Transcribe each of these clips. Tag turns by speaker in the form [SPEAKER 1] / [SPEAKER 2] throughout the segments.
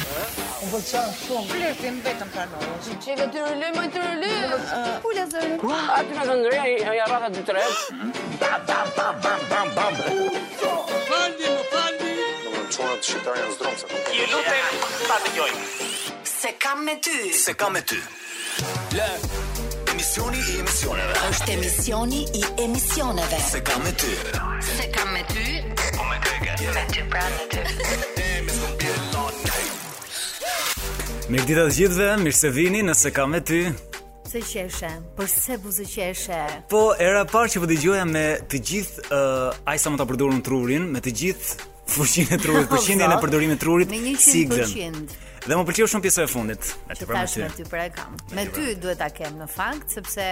[SPEAKER 1] Më pëlqen shumë.
[SPEAKER 2] Flirtim vetëm pranoj.
[SPEAKER 3] Çeve dyrëlë, më dyrëlë. Pula zërin.
[SPEAKER 4] Aty në këndëria i arrata dy tre.
[SPEAKER 5] Domethënë çunat shqiptar janë zdromsa.
[SPEAKER 6] Ju lutem, ta dëgjoj.
[SPEAKER 7] Se kam me ty
[SPEAKER 6] Se kam me ty. Lë. Emisioni i emisioneve.
[SPEAKER 7] është emisioni i emisioneve
[SPEAKER 6] Se kam me ty.
[SPEAKER 7] Se kam me ty
[SPEAKER 6] Po me kërke.
[SPEAKER 7] Me ty pra me ty
[SPEAKER 8] Mirë dita të gjithëve, mirë se vini nëse kam me ty.
[SPEAKER 3] Se qeshe, përse buzë qeshe.
[SPEAKER 8] Po era e parë që po dëgjoja me të gjithë uh, aj sa më ta përdorun trurin, me të gjithë fuqinë e trurit, përqindjen e
[SPEAKER 3] Zot.
[SPEAKER 8] përdorimit të trurit,
[SPEAKER 3] Me
[SPEAKER 8] si i
[SPEAKER 3] 100%.
[SPEAKER 8] Dhe më pëlqeu shumë pjesa e fundit. Atë
[SPEAKER 3] Që
[SPEAKER 8] pra me
[SPEAKER 3] thash
[SPEAKER 8] ty.
[SPEAKER 3] me ty pra e kam. Me ty duhet ta kem në fakt sepse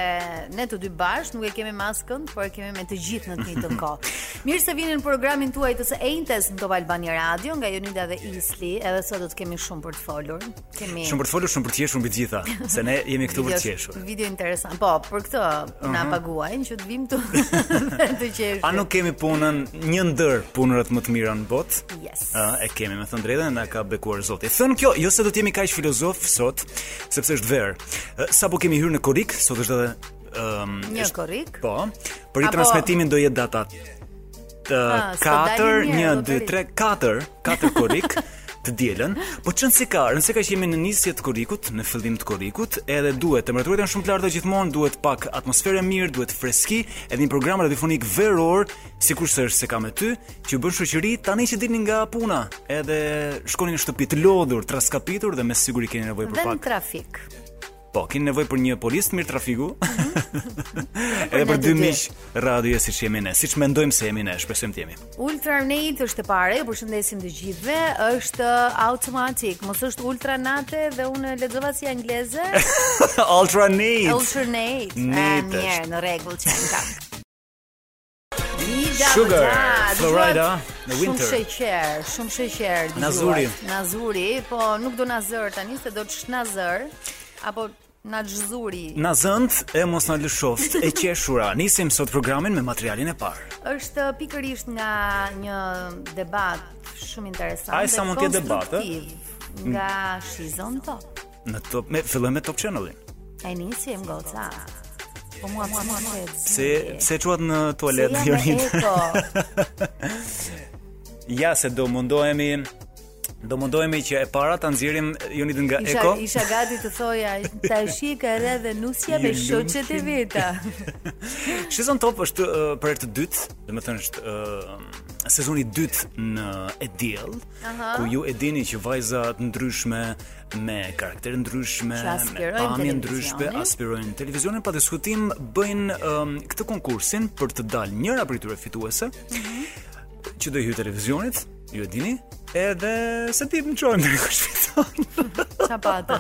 [SPEAKER 3] ne të dy bash nuk e kemi maskën, por e kemi me të gjithë në të njëjtën kohë. Mirë se vini në programin tuaj të së ejntes në Top Albania Radio nga Jonida dhe Isli, edhe sot do të kemi shumë për të folur. Kemi
[SPEAKER 8] Shumë për të folur, shumë për të qeshur mbi të gjitha, se ne jemi këtu për të
[SPEAKER 3] video-
[SPEAKER 8] qeshur.
[SPEAKER 3] Video interesant. Po, për këtë na paguajnë që të vim këtu dhe të qeshur.
[SPEAKER 8] A nuk kemi punën një ndër punërat më të mira në botë?
[SPEAKER 3] Yes.
[SPEAKER 8] Ë, e kemi me thënë drejtën, na ka bekuar Zoti. Thën kjo, jo se do të jemi kaq filozof sot, sepse është verë. Ë, Sapo kemi hyrë në Korik, sot është edhe ëm
[SPEAKER 3] Një
[SPEAKER 8] është-
[SPEAKER 3] korrik.
[SPEAKER 8] Po. Për i
[SPEAKER 3] Apo-
[SPEAKER 8] transmetimin do jetë data të
[SPEAKER 3] Ah, s'po
[SPEAKER 8] 4
[SPEAKER 3] dalim mirë,
[SPEAKER 8] 1 2
[SPEAKER 3] logarit.
[SPEAKER 8] 3 4 4 korik të dielën, po çon si ka, nëse ka që jemi në nisje të korikut, në fillim të korikut, edhe duhet temperaturat janë shumë të larta gjithmonë, duhet pak atmosferë e mirë, duhet freski, edhe një program radiofonik veror, sikur se është se ka me ty, që ju bën shoqëri tani që dilni nga puna, edhe shkoni në shtëpi të lodhur, traskapitur dhe me siguri keni nevojë
[SPEAKER 3] Dhe
[SPEAKER 8] për
[SPEAKER 3] në
[SPEAKER 8] pak.
[SPEAKER 3] trafik.
[SPEAKER 8] Po, keni nevojë për një polis të mirë trafiku. Edhe
[SPEAKER 3] ne
[SPEAKER 8] për dy
[SPEAKER 3] Mhm. të dy.
[SPEAKER 8] miq radioje siç jemi ne, siç mendojmë se jemi ne, shpresojmë të jemi.
[SPEAKER 3] Ultra Nate është e pare, ju përshëndesim të gjithëve, është automatik, mos është Ultra Nate dhe unë e lexova si angleze.
[SPEAKER 8] Ultra Neat.
[SPEAKER 3] Ultra Nate.
[SPEAKER 8] Nate
[SPEAKER 3] Ah, mirë,
[SPEAKER 8] është.
[SPEAKER 3] në rregull që ka.
[SPEAKER 8] Sugar, Florida, në winter.
[SPEAKER 3] Shumë sheqer, shumë sheqer. dëgjuar.
[SPEAKER 8] Nazuri.
[SPEAKER 3] Nazuri, po nuk do nazër tani, se do të shnazër apo nazhzuri.
[SPEAKER 8] Na zënd e mos na lëshoft e qeshura. Nisim sot programin me materialin e parë.
[SPEAKER 3] është pikërisht nga një debat shumë interesant.
[SPEAKER 8] Ai sa
[SPEAKER 3] dhe
[SPEAKER 8] mund t'jetë debat, ë?
[SPEAKER 3] konstruktiv Nga Shizon Top.
[SPEAKER 8] Në top, me fillojmë me Top Channelin.
[SPEAKER 3] E nisim goca. Po mua mua mua mua.
[SPEAKER 8] Se se çuat në tualet
[SPEAKER 3] jam
[SPEAKER 8] Jonit.
[SPEAKER 3] eko.
[SPEAKER 8] Ja se do mundohemi Do mundohemi që e para ta nxjerrim Jonitën nga
[SPEAKER 3] Isha,
[SPEAKER 8] Eko.
[SPEAKER 3] isha gati të thoja, ta shika re dhe nusja me
[SPEAKER 8] Ju
[SPEAKER 3] shoqet e veta.
[SPEAKER 8] Shizon Top është uh, për herë të dytë, domethënë është uh, sezoni i dytë në E Diell, ku ju e dini që vajza të ndryshme me karaktere ndryshme,
[SPEAKER 3] Që
[SPEAKER 8] me
[SPEAKER 3] aspirojnë
[SPEAKER 8] pamje
[SPEAKER 3] televizionin.
[SPEAKER 8] ndryshme, aspirojnë televizionin pa diskutim, bëjnë um, këtë konkursin për të dalë njëra prej tyre fituese,
[SPEAKER 3] Mhm.
[SPEAKER 8] që do i hyjë televizionit, ju e dini, edhe se ti më çojmë në kush fiton.
[SPEAKER 3] Ça patë.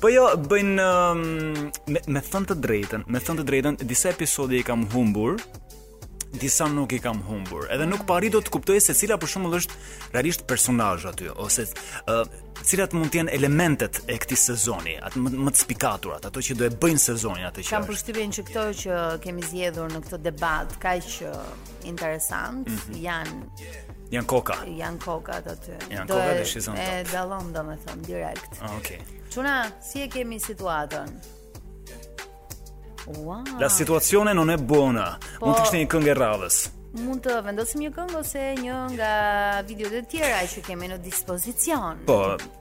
[SPEAKER 8] Po jo, bëjnë um, me, me thënë të drejtën, me thënë të drejtën, disa episode i kam humbur, disa nuk i kam humbur. Edhe nuk pari do të kuptoj se cila për shembull është realisht personazh aty ose uh, cilat mund të jenë elementet e këtij sezoni, atë më, më të spikaturat, ato që do e bëjnë sezonin atë që
[SPEAKER 3] Kam
[SPEAKER 8] është.
[SPEAKER 3] përshtypjen që këto që kemi zgjedhur në këtë debat kaq ë, interesant
[SPEAKER 8] Mhm.
[SPEAKER 3] janë
[SPEAKER 8] Janë koka.
[SPEAKER 3] janë kokat aty.
[SPEAKER 8] Janë
[SPEAKER 3] Do
[SPEAKER 8] kokat
[SPEAKER 3] e-
[SPEAKER 8] e Shizon
[SPEAKER 3] E
[SPEAKER 8] Top.
[SPEAKER 3] dallon domethënë direkt.
[SPEAKER 8] Ah, Okej.
[SPEAKER 3] Çuna, si e kemi situatën? Ua,
[SPEAKER 8] La situazione non è buona.
[SPEAKER 3] Ah.
[SPEAKER 8] Mund të
[SPEAKER 3] Po-
[SPEAKER 8] kishte një këngë e radhës.
[SPEAKER 3] mund të vendosim një këngë ose një nga videot e tjera që kemi në dispozicion.
[SPEAKER 8] Po,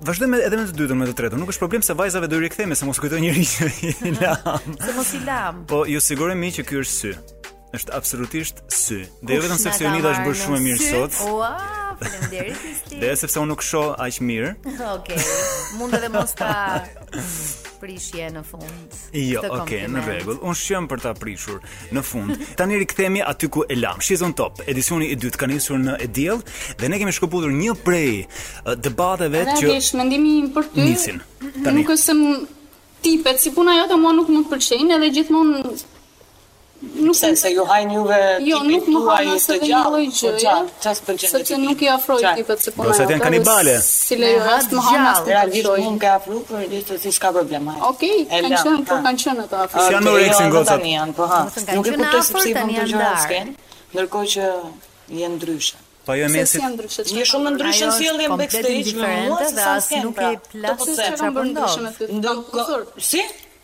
[SPEAKER 8] vazhdojmë edhe me të dytën, me të tretën. Nuk është problem se vajzave do i rikthehemi se mos kujtoj njëri që i lam.
[SPEAKER 3] Se mos i lam.
[SPEAKER 8] Po, ju sigurojmë që ky është sy. Është absolutisht sy. Dhe jo
[SPEAKER 3] Kush
[SPEAKER 8] vetëm
[SPEAKER 3] na
[SPEAKER 8] sepse
[SPEAKER 3] ka
[SPEAKER 8] Jonida është
[SPEAKER 3] marrë
[SPEAKER 8] bërë shumë e
[SPEAKER 3] në
[SPEAKER 8] mirë
[SPEAKER 3] sy?
[SPEAKER 8] sot,
[SPEAKER 3] Ua, faleminderit Isti.
[SPEAKER 8] dhe sepse unë nuk shoh aq mirë.
[SPEAKER 3] Okej. Mund edhe mos ta prishje në fund.
[SPEAKER 8] Jo,
[SPEAKER 3] këtë
[SPEAKER 8] okay, në
[SPEAKER 3] kompliment.
[SPEAKER 8] rregull. Unë shqem për ta prishur në fund. Tani rikthehemi aty ku e lam. Shizon Top, edicioni i dytë ka nisur në e diell dhe ne kemi shkëputur një prej uh, debateve
[SPEAKER 9] Edhe
[SPEAKER 8] që
[SPEAKER 9] vesh, mendimi im për ty.
[SPEAKER 8] nisin. Tani.
[SPEAKER 9] Mhm. Nuk është se më tipet si puna jote mua nuk më pëlqejnë edhe gjithmonë nuk
[SPEAKER 10] Se se ju hajnë juve
[SPEAKER 9] Jo, nuk
[SPEAKER 10] tipit
[SPEAKER 9] më
[SPEAKER 10] tuaj
[SPEAKER 9] hajnë
[SPEAKER 10] të
[SPEAKER 9] asë dhe një
[SPEAKER 10] gjallë,
[SPEAKER 9] lloj
[SPEAKER 10] të
[SPEAKER 9] gjëje,
[SPEAKER 10] gjallë, që s'pëlqen
[SPEAKER 9] sepse
[SPEAKER 10] dhe
[SPEAKER 9] nuk i afroj
[SPEAKER 10] Qartë.
[SPEAKER 9] tipet se puna
[SPEAKER 8] Gosat janë kanibale.
[SPEAKER 9] Si lejo,
[SPEAKER 3] Me
[SPEAKER 9] as më
[SPEAKER 3] hatë
[SPEAKER 9] hanë as
[SPEAKER 3] gjallë.
[SPEAKER 9] më
[SPEAKER 10] Realisht
[SPEAKER 9] pëlqoj.
[SPEAKER 10] mund ka afru, por e di se si s'ka problem. hajde.
[SPEAKER 9] Okej,
[SPEAKER 10] E
[SPEAKER 9] kanë
[SPEAKER 10] lam,
[SPEAKER 9] qenë, po
[SPEAKER 10] ha.
[SPEAKER 9] kanë qenë ato afroj.
[SPEAKER 8] Si
[SPEAKER 10] Okej,
[SPEAKER 8] janë oreksin,
[SPEAKER 10] jo, edhe
[SPEAKER 8] gocat?
[SPEAKER 10] tani janë, po ha.
[SPEAKER 3] Domethënë, kanë
[SPEAKER 10] Nuk e
[SPEAKER 3] qenë
[SPEAKER 10] kuptoj
[SPEAKER 3] afër,
[SPEAKER 10] sepse i
[SPEAKER 3] tani
[SPEAKER 10] mund të
[SPEAKER 3] janë
[SPEAKER 10] gjëra
[SPEAKER 3] ndarë.
[SPEAKER 10] s'ken, ndërkohë që janë ndryshe.
[SPEAKER 8] Po ajo e
[SPEAKER 9] se si
[SPEAKER 8] mesit.
[SPEAKER 9] janë ndryshe.
[SPEAKER 10] Je shumë ndryshe
[SPEAKER 3] Ajo
[SPEAKER 10] në
[SPEAKER 3] është
[SPEAKER 10] sjelljen
[SPEAKER 3] komplet
[SPEAKER 10] backstage me mua
[SPEAKER 3] indiferente
[SPEAKER 10] se
[SPEAKER 3] dhe
[SPEAKER 10] sa
[SPEAKER 3] as
[SPEAKER 10] s'kem,
[SPEAKER 3] nuk
[SPEAKER 10] pra.
[SPEAKER 3] e plas
[SPEAKER 10] Do
[SPEAKER 3] se çfarë
[SPEAKER 10] të them.
[SPEAKER 9] kam bërë
[SPEAKER 3] po
[SPEAKER 9] ndryshe me
[SPEAKER 3] ndodh?
[SPEAKER 9] ty. Kam kusur.
[SPEAKER 10] si?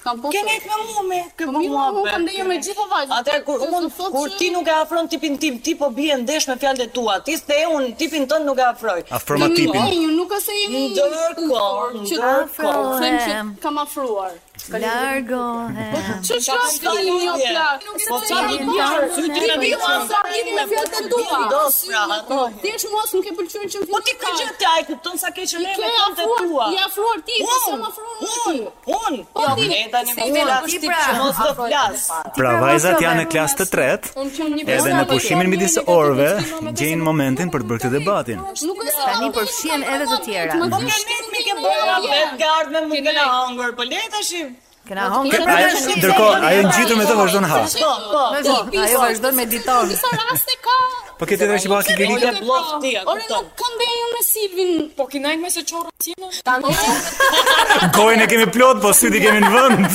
[SPEAKER 9] Kam
[SPEAKER 10] Ke
[SPEAKER 9] kusur.
[SPEAKER 10] ngejt me mua me, ke
[SPEAKER 9] Po
[SPEAKER 10] bërë
[SPEAKER 9] mirë,
[SPEAKER 10] mua.
[SPEAKER 9] unë kam
[SPEAKER 10] be.
[SPEAKER 9] ndëgjuar me gjithë vajzat.
[SPEAKER 10] Atëherë kur
[SPEAKER 9] Se
[SPEAKER 10] unë
[SPEAKER 9] s'u thotë
[SPEAKER 10] kur
[SPEAKER 9] që-
[SPEAKER 10] ti nuk e afron tipin tim, ti po bie ndesh me fjalët e tua. Ti se unë tipin tënd nuk e afroj.
[SPEAKER 8] Afroma
[SPEAKER 9] Jemi-
[SPEAKER 8] tipin.
[SPEAKER 9] e, ju nuk ose jemi
[SPEAKER 10] Ndërkohë,
[SPEAKER 9] që
[SPEAKER 10] ndërkohë.
[SPEAKER 9] them që kam afruar.
[SPEAKER 3] Largohem.
[SPEAKER 9] Që që
[SPEAKER 10] Ka
[SPEAKER 9] ka
[SPEAKER 10] lidhje.
[SPEAKER 9] një një jo plak? jo
[SPEAKER 10] Po
[SPEAKER 9] e kam
[SPEAKER 10] çfarë lidhje?
[SPEAKER 9] parë.
[SPEAKER 10] Sy ti
[SPEAKER 9] Ti
[SPEAKER 10] me
[SPEAKER 9] me
[SPEAKER 10] miqën.
[SPEAKER 9] sa jeni me fjalët e tua.
[SPEAKER 10] jo Dos, pra, ato.
[SPEAKER 9] Ti është mos nuk e pëlqen që
[SPEAKER 10] Po ti këtë gjë ti ai kupton sa keq ne me tënd e tua.
[SPEAKER 9] I afruar ti, po s'jam
[SPEAKER 10] Unë,
[SPEAKER 9] afruar
[SPEAKER 10] unë,
[SPEAKER 9] unë.
[SPEAKER 10] unë,
[SPEAKER 9] Po
[SPEAKER 10] jo,
[SPEAKER 9] ti-
[SPEAKER 10] ne tani
[SPEAKER 9] se
[SPEAKER 10] më
[SPEAKER 9] i
[SPEAKER 10] ura,
[SPEAKER 9] vetë
[SPEAKER 10] ti
[SPEAKER 3] ti
[SPEAKER 10] pra,
[SPEAKER 9] Po
[SPEAKER 3] pra,
[SPEAKER 10] mos do
[SPEAKER 3] afroj.
[SPEAKER 10] flas.
[SPEAKER 8] Pra
[SPEAKER 3] Ti
[SPEAKER 8] vajzat
[SPEAKER 3] provoqove.
[SPEAKER 8] janë në klasë të tretë.
[SPEAKER 9] Unë që një
[SPEAKER 8] Edhe
[SPEAKER 9] person
[SPEAKER 8] në
[SPEAKER 9] me
[SPEAKER 8] pushimin
[SPEAKER 9] fjalë
[SPEAKER 8] midis
[SPEAKER 9] negative,
[SPEAKER 8] orëve
[SPEAKER 9] që ti më
[SPEAKER 8] gjejnë
[SPEAKER 9] me-
[SPEAKER 8] momentin për të bërë këtë debatin.
[SPEAKER 9] Nuk e se
[SPEAKER 3] Tani përfshihen edhe të tjera.
[SPEAKER 9] Po
[SPEAKER 10] Po nga ne mi ke bëra
[SPEAKER 9] jo
[SPEAKER 10] vetë gard me mua kena hangër, po le tash.
[SPEAKER 3] Kena hongër.
[SPEAKER 9] Pra,
[SPEAKER 3] pra,
[SPEAKER 8] Ajo,
[SPEAKER 3] tash-
[SPEAKER 8] ndërkohë, ajo ngjitur me të vazhdon ha.
[SPEAKER 10] Po, po.
[SPEAKER 3] Vazhdo, ajo vazhdon me diton.
[SPEAKER 9] Disa raste ka.
[SPEAKER 8] Po ke tjetër që pas i
[SPEAKER 10] Ore,
[SPEAKER 8] lirike?
[SPEAKER 10] bllok ti, e
[SPEAKER 9] Ore,
[SPEAKER 10] kupton.
[SPEAKER 9] nuk kam bërë unë me Silvin. Po ki ndajnë me se çorra tina. Tani
[SPEAKER 8] Gojën e kemi plot, po sytë i kemi në vend.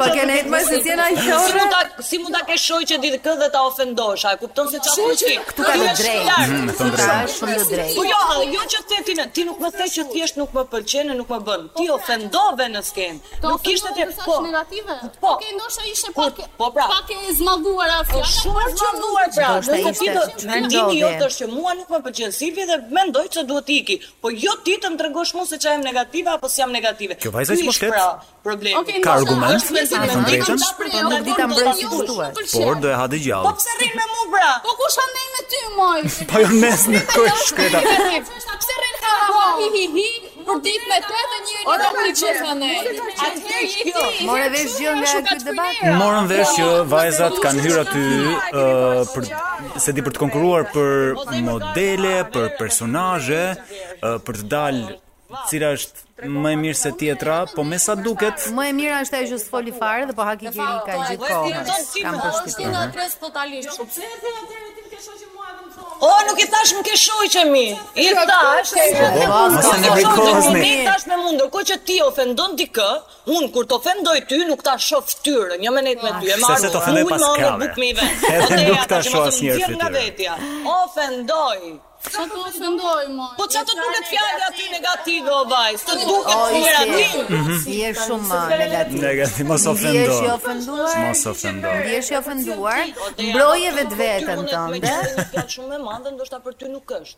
[SPEAKER 3] Po ke nejt më se t'jena i
[SPEAKER 10] Si
[SPEAKER 3] qore.
[SPEAKER 10] mund ta si mund ta ke shoqë ditë kë dhe ta ofendosh, a e kupton se çfarë
[SPEAKER 9] Shoqe,
[SPEAKER 10] përshkrim?
[SPEAKER 3] Këtu ka të
[SPEAKER 10] Jesh
[SPEAKER 3] drejtë.
[SPEAKER 10] larg.
[SPEAKER 8] Mhm, me thënë
[SPEAKER 3] Pra,
[SPEAKER 8] drejtë.
[SPEAKER 3] është Mm, shumë të drejtë.
[SPEAKER 10] Po jo, jo që the ti në, ti nuk më the që thjesht nuk më pëlqen e nuk më bën. Ti ofendove në skenë. Nuk kishte ti po.
[SPEAKER 9] po. negative.
[SPEAKER 10] Po.
[SPEAKER 9] Okej, ndoshta ishte
[SPEAKER 10] Kur-
[SPEAKER 9] pak
[SPEAKER 10] po pra.
[SPEAKER 9] pak e zmadhuar a
[SPEAKER 10] Po
[SPEAKER 9] fjala.
[SPEAKER 10] shumë e
[SPEAKER 9] por që-
[SPEAKER 10] zmadhuar pra.
[SPEAKER 3] Do shta
[SPEAKER 10] Nëse ti do
[SPEAKER 3] ishte.
[SPEAKER 10] mendimi jot
[SPEAKER 3] Mendove.
[SPEAKER 10] është që mua nuk më pëlqen Silvi dhe mendoj se duhet iki. Po jo ti të më tregosh mua se çfarë jam negative apo si jam negative.
[SPEAKER 8] Kjo vajza
[SPEAKER 10] Ky
[SPEAKER 8] që po
[SPEAKER 10] ish,
[SPEAKER 8] flet,
[SPEAKER 10] pra, problemi.
[SPEAKER 9] Okej,
[SPEAKER 8] Ka
[SPEAKER 9] ndoshta
[SPEAKER 8] argument,
[SPEAKER 9] është pjesë e
[SPEAKER 8] me thënë
[SPEAKER 9] mendimit,
[SPEAKER 8] drejtën,
[SPEAKER 9] ta prej,
[SPEAKER 10] po nuk
[SPEAKER 9] ta
[SPEAKER 10] di ta
[SPEAKER 9] prej,
[SPEAKER 10] mbroj
[SPEAKER 9] ta
[SPEAKER 10] si
[SPEAKER 9] ju,
[SPEAKER 3] duhet.
[SPEAKER 9] nuk pëlqen.
[SPEAKER 8] Por do e ha dhe
[SPEAKER 10] Po
[SPEAKER 8] gjallë.
[SPEAKER 10] pse rrin me mua bra?
[SPEAKER 9] Po kush ka ndej me ty, moj?
[SPEAKER 8] Po jo në mes në kojë shkreta.
[SPEAKER 9] Pse rrin ka po? Hi hi hi, për ditë me të dhe njëri do të çfarë ne. Atëherë je ti.
[SPEAKER 3] More vesh gjë nga ky debat.
[SPEAKER 8] Morën vesh që vajzat kanë hyrë aty ë, për se di për të konkuruar për modele, për personazhe, ë, për të dalë cila është më e mirë se tjetra, po me sa duket
[SPEAKER 3] Më e mira është ajo që s'foli fare dhe po haki kiri ka gjithë kohën. Kam përshtypjen.
[SPEAKER 9] Stres totalisht.
[SPEAKER 10] O, nuk i thash më ke shoqë mi. I thash.
[SPEAKER 8] po, mos e
[SPEAKER 10] Nuk i shoqe
[SPEAKER 8] nevrikozni.
[SPEAKER 10] mi, i thash me mua, ndërkohë që ti ofendon dikë, unë kur të ofendoj ty nuk ta shoh fytyrën, jo me nejt me ty. E marr.
[SPEAKER 8] se t'ofendoj
[SPEAKER 10] ujë
[SPEAKER 8] pas
[SPEAKER 10] me ongë,
[SPEAKER 8] krave.
[SPEAKER 10] buk me i ven.
[SPEAKER 8] Edhe
[SPEAKER 10] Po, te
[SPEAKER 8] nuk
[SPEAKER 10] ja,
[SPEAKER 8] ta
[SPEAKER 10] tash,
[SPEAKER 8] shoh
[SPEAKER 10] mos më
[SPEAKER 8] asnjëherë
[SPEAKER 10] nxjerr nga
[SPEAKER 8] fytyrën.
[SPEAKER 10] vetja. Ofendoj.
[SPEAKER 9] Sa të ofendoj, moj.
[SPEAKER 10] Po çfarë të duket fjalë aty negative o vajz? Të duket
[SPEAKER 3] O,
[SPEAKER 10] mirë aty.
[SPEAKER 3] ishte, Mhm. je shumë negativ.
[SPEAKER 8] negativ mos
[SPEAKER 3] Ndjesh i
[SPEAKER 8] ofendo.
[SPEAKER 3] ofenduar.
[SPEAKER 8] Mos ofendo.
[SPEAKER 3] Ndjesh i ofenduar.
[SPEAKER 10] O, te ja,
[SPEAKER 3] Mbroje vetë
[SPEAKER 10] po,
[SPEAKER 3] vetën
[SPEAKER 10] ty mund e- me
[SPEAKER 3] tënde.
[SPEAKER 10] qenë një fjalë shumë e madhe, ndoshta për ty nuk është.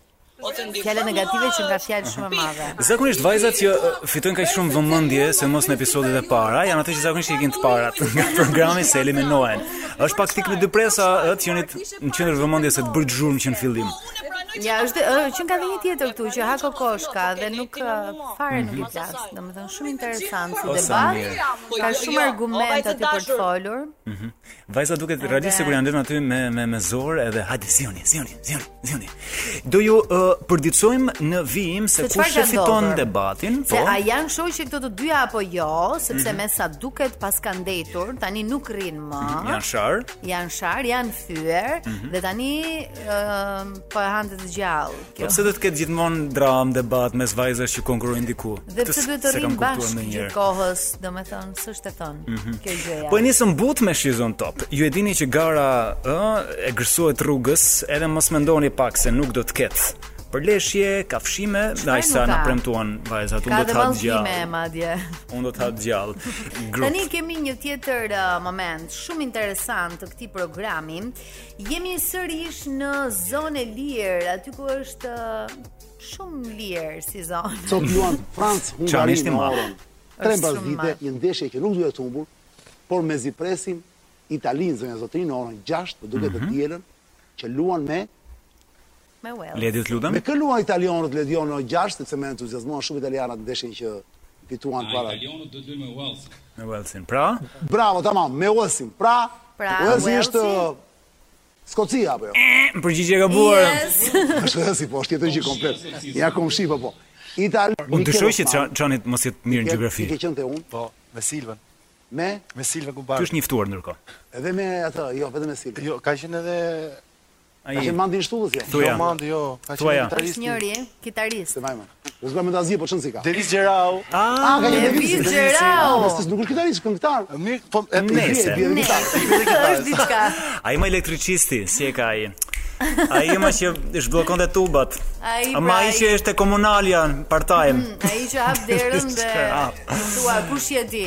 [SPEAKER 10] Ofendim.
[SPEAKER 3] Fjala negative që nga fjalë shumë e madhe.
[SPEAKER 8] Zakonisht vajzat që ë, fitojnë kaq shumë vëmendje se mos në episodet e para, janë ato që zakonisht i kanë të parat nga programi se eliminohen. Është pak tik me dy presa ë, që janë në qendër vëmendjes se të bëjë zhurmë që në fillim.
[SPEAKER 10] Po, Unë e pranoj që
[SPEAKER 3] Ja, është ë, që nga dhe një tjetër këtu që ha kokoshka dhe nuk Mhm. ë, fare
[SPEAKER 10] Mhm.
[SPEAKER 3] nuk i flas.
[SPEAKER 10] Po, jo,
[SPEAKER 3] Domethënë shumë interesant si
[SPEAKER 8] O, sa mirë.
[SPEAKER 3] debat. Ka shumë argument
[SPEAKER 10] argumente
[SPEAKER 3] aty për Jo, të folur.
[SPEAKER 8] Vajza duket realisht sikur janë lënë aty me me me zor edhe hajde zioni, zioni, zioni, zioni. Do ju uh, përditësojmë në vijim se,
[SPEAKER 3] Se çfarë
[SPEAKER 8] kush e
[SPEAKER 3] ka
[SPEAKER 8] fiton
[SPEAKER 3] ndodhur?
[SPEAKER 8] debatin,
[SPEAKER 3] Se
[SPEAKER 8] po. Mhm.
[SPEAKER 3] a janë shoqë këto të dyja apo jo, sepse me sa duket pas kanë ndetur, tani nuk rrin më.
[SPEAKER 8] Mhm, Janë Mhm. shar.
[SPEAKER 3] janë shar, janë fyer dhe tani ëm po e hanë të gjallë kjo.
[SPEAKER 8] Po pse do të ketë gjithmonë dram, debat mes vajzash që konkurrojnë diku?
[SPEAKER 3] Dhe pse duhet të rrim bashkë gjithë
[SPEAKER 8] gjithkohë?
[SPEAKER 3] kohës, domethënë s'është e thon kjo gjëja.
[SPEAKER 8] Po e nisëm but me Shizon Top. Ju e dini që gara ë e gërsohet rrugës, edhe mos mendoni pak se nuk do të ketë përleshje, kafshime, ai sa
[SPEAKER 3] nuk
[SPEAKER 8] na
[SPEAKER 3] ka?
[SPEAKER 8] premtuan vajzat, unë
[SPEAKER 3] Ka
[SPEAKER 8] do
[SPEAKER 3] dhe
[SPEAKER 8] të ha
[SPEAKER 3] vallëzime
[SPEAKER 8] gjallë.
[SPEAKER 3] madje.
[SPEAKER 8] Unë do të ha gjallë. Grup.
[SPEAKER 3] Tani kemi një tjetër uh, moment shumë interesant të këtij programi. Jemi sërish në zonë e lirë, aty ku është uh, shumë lirë si zonë.
[SPEAKER 1] Sot luan Francë Hungari
[SPEAKER 8] Çanishti
[SPEAKER 1] në
[SPEAKER 8] madh.
[SPEAKER 1] orën. Tre
[SPEAKER 3] Është
[SPEAKER 1] mbas
[SPEAKER 3] shumë
[SPEAKER 1] vite,
[SPEAKER 3] madh.
[SPEAKER 1] një ndeshje që nuk duhet të humbur, por me zipresin Italinë zonja Zotrin në orën 6, për duket të
[SPEAKER 8] Mhm.
[SPEAKER 1] dielën që luan me
[SPEAKER 3] Me well.
[SPEAKER 8] Ledi të lutem.
[SPEAKER 1] me kë luan italianët Ledion në orën 6, sepse më entuziazmuan shumë italianat ndeshjen që fituan
[SPEAKER 8] Ah,
[SPEAKER 1] para.
[SPEAKER 8] Me Wellsin. Pra,
[SPEAKER 1] Bravo, tamam, me Uesin. Pra,
[SPEAKER 3] Pra,
[SPEAKER 1] Uesi
[SPEAKER 3] Walesi.
[SPEAKER 1] është Skocia apo jo?
[SPEAKER 8] në përgjigje e gabuar.
[SPEAKER 3] Yes.
[SPEAKER 1] Është Uesi, po është tjetër gjë komplet. Ja komshi po po. Itali.
[SPEAKER 8] Unë dyshoj që
[SPEAKER 1] Mikel
[SPEAKER 8] Çan- Çanit mos jetë mirë në
[SPEAKER 1] Osman,
[SPEAKER 8] gjeografi.
[SPEAKER 1] i Ke qenë te unë
[SPEAKER 2] Po, me Silvën.
[SPEAKER 1] me
[SPEAKER 2] Me Silvën
[SPEAKER 8] Ky
[SPEAKER 2] Gumbar.
[SPEAKER 8] është një ftuar ndërkohë.
[SPEAKER 1] edhe me atë, jo vetëm me Silvi.
[SPEAKER 2] Jo, ka qenë edhe
[SPEAKER 8] Ai.
[SPEAKER 1] Ka qenë mandin shtullës ja.
[SPEAKER 8] Thuja.
[SPEAKER 2] Jo, Mandi, jo, ka
[SPEAKER 8] Thuja.
[SPEAKER 2] qenë
[SPEAKER 3] Është njëri, kitarist.
[SPEAKER 1] Se vajma. U zgjuam me tazi, po çon si ka.
[SPEAKER 2] Delis Gjerau.
[SPEAKER 1] Ah, ka një
[SPEAKER 3] Elvis
[SPEAKER 1] vizë.
[SPEAKER 3] Gjerau.
[SPEAKER 1] Nuk është kitarist, këngëtar.
[SPEAKER 2] Mirë, po e
[SPEAKER 8] Nese.
[SPEAKER 1] Bie, bie, bie,
[SPEAKER 3] Ne,
[SPEAKER 1] kitarist.
[SPEAKER 3] është diçka.
[SPEAKER 8] Ai më elektricisti, si e ka ai? Ai ima që zhbllokonte tubat.
[SPEAKER 3] Ai
[SPEAKER 8] Ama
[SPEAKER 3] pra,
[SPEAKER 8] ai
[SPEAKER 3] ai- Mm.
[SPEAKER 8] që ishte komunalja part-time.
[SPEAKER 3] Ai që hap derën dhe
[SPEAKER 8] Çka hap?
[SPEAKER 3] thua kush je ti?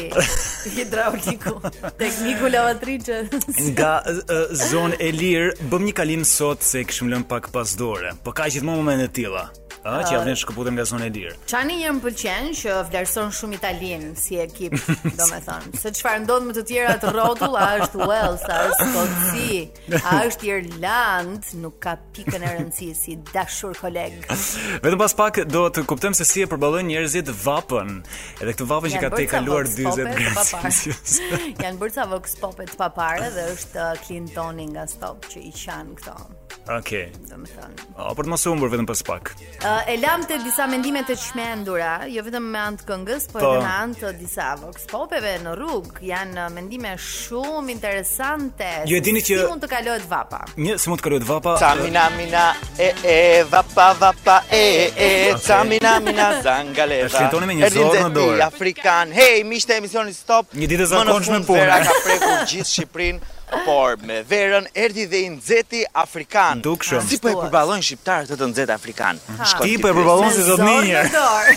[SPEAKER 3] Hidrauliku, tekniku lavatriçës.
[SPEAKER 8] Nga ë, ë, zonë e lirë bëm një kalim sot se kishim lënë pak pas dore. Po ka gjithmonë momente të tilla. Ë, që javën shkëputem nga zonë e lirë.
[SPEAKER 3] Çani një më pëlqen që vlerëson shumë Italinë si ekip, domethënë. Se çfarë ndodh me të tjera të rrotull, a është Wales, a është Skoci, a është Irland, nuk ka pikën e rëndësisë si dashur koleg.
[SPEAKER 8] Vetëm pas pak do të kuptojmë se si e përballojnë njerëzit vapën. Edhe këtë vapën që
[SPEAKER 3] Janë
[SPEAKER 8] ka te
[SPEAKER 3] bërë ca
[SPEAKER 8] kaluar
[SPEAKER 3] vox popet
[SPEAKER 8] 40 gradë
[SPEAKER 3] pa parë.
[SPEAKER 8] Celsius.
[SPEAKER 3] Janë bërë ca vox popet pa parë dhe është uh, Clintoni nga stop që i qanë këto,
[SPEAKER 8] Okej.
[SPEAKER 3] domethënë.
[SPEAKER 8] O, për të mos u humbur vetëm pas pak.
[SPEAKER 3] Uh, e lam të disa mendime të çmendura, jo vetëm me anë të këngës, por
[SPEAKER 8] Po.
[SPEAKER 3] edhe me anë të disa vox popeve në rrugë. Janë uh, mendime shumë interesante.
[SPEAKER 8] Ju e dini
[SPEAKER 3] Si
[SPEAKER 8] që-
[SPEAKER 3] mund të kalohet vapa?
[SPEAKER 8] Një se mund të kalohet vapa.
[SPEAKER 11] Tamina mina e e vapa vapa e e e Tamina mina zangaleva
[SPEAKER 8] E flintoni me një zorë në dorë.
[SPEAKER 11] Erdin zeti Afrikan Hej, miqtë e emisionit Stop
[SPEAKER 8] Një ditë e
[SPEAKER 11] Më në
[SPEAKER 8] zakonshme
[SPEAKER 11] fund
[SPEAKER 8] pune.
[SPEAKER 11] Vera ka prekur gjithë Shqiprin Por me verën erdi dhe i nxeti Afrikan
[SPEAKER 8] Dukshëm.
[SPEAKER 11] Si po e përballojnë shqiptarët të të nxetë Afrikan
[SPEAKER 8] Ti po e përballon si zot
[SPEAKER 3] Zorë
[SPEAKER 8] një.
[SPEAKER 3] në dorë.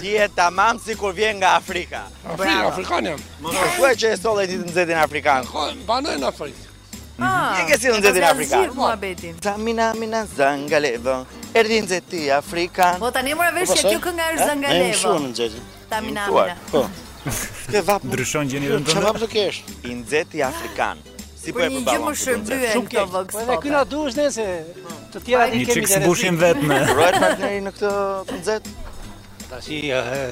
[SPEAKER 11] Ti e tamam si kur vjen nga Afrika
[SPEAKER 3] Bravo.
[SPEAKER 5] Afrikan jam.
[SPEAKER 11] Ku e që e solle ti të nxetin Afrikan
[SPEAKER 5] Ka banoj po, në Afrikë.
[SPEAKER 3] Ah,
[SPEAKER 11] Një ke si të nxetin
[SPEAKER 3] e pas
[SPEAKER 11] Afrikan.
[SPEAKER 3] zgjidh muhabetin.
[SPEAKER 11] Tamina mina zangaleva Erdi i nxeti Afrikan
[SPEAKER 3] Po tani mora vesh që kjo kënga
[SPEAKER 11] Eh?
[SPEAKER 3] është Zangalevo. Tamina
[SPEAKER 11] mësuar.
[SPEAKER 3] Amina.
[SPEAKER 11] Ke vap
[SPEAKER 8] Ndryshon gjenitën tënde.
[SPEAKER 5] të kesh?
[SPEAKER 11] i nxehti afrikan. Si po
[SPEAKER 3] Për
[SPEAKER 11] e
[SPEAKER 3] një gjë më
[SPEAKER 11] përballon?
[SPEAKER 3] shërbyen kjo
[SPEAKER 11] Po,
[SPEAKER 3] vox pope.
[SPEAKER 5] duhesh nëse të tjera
[SPEAKER 8] Një çik zbushin vetme.
[SPEAKER 11] Kurohet partneri në këtë të nxeht?
[SPEAKER 5] Tash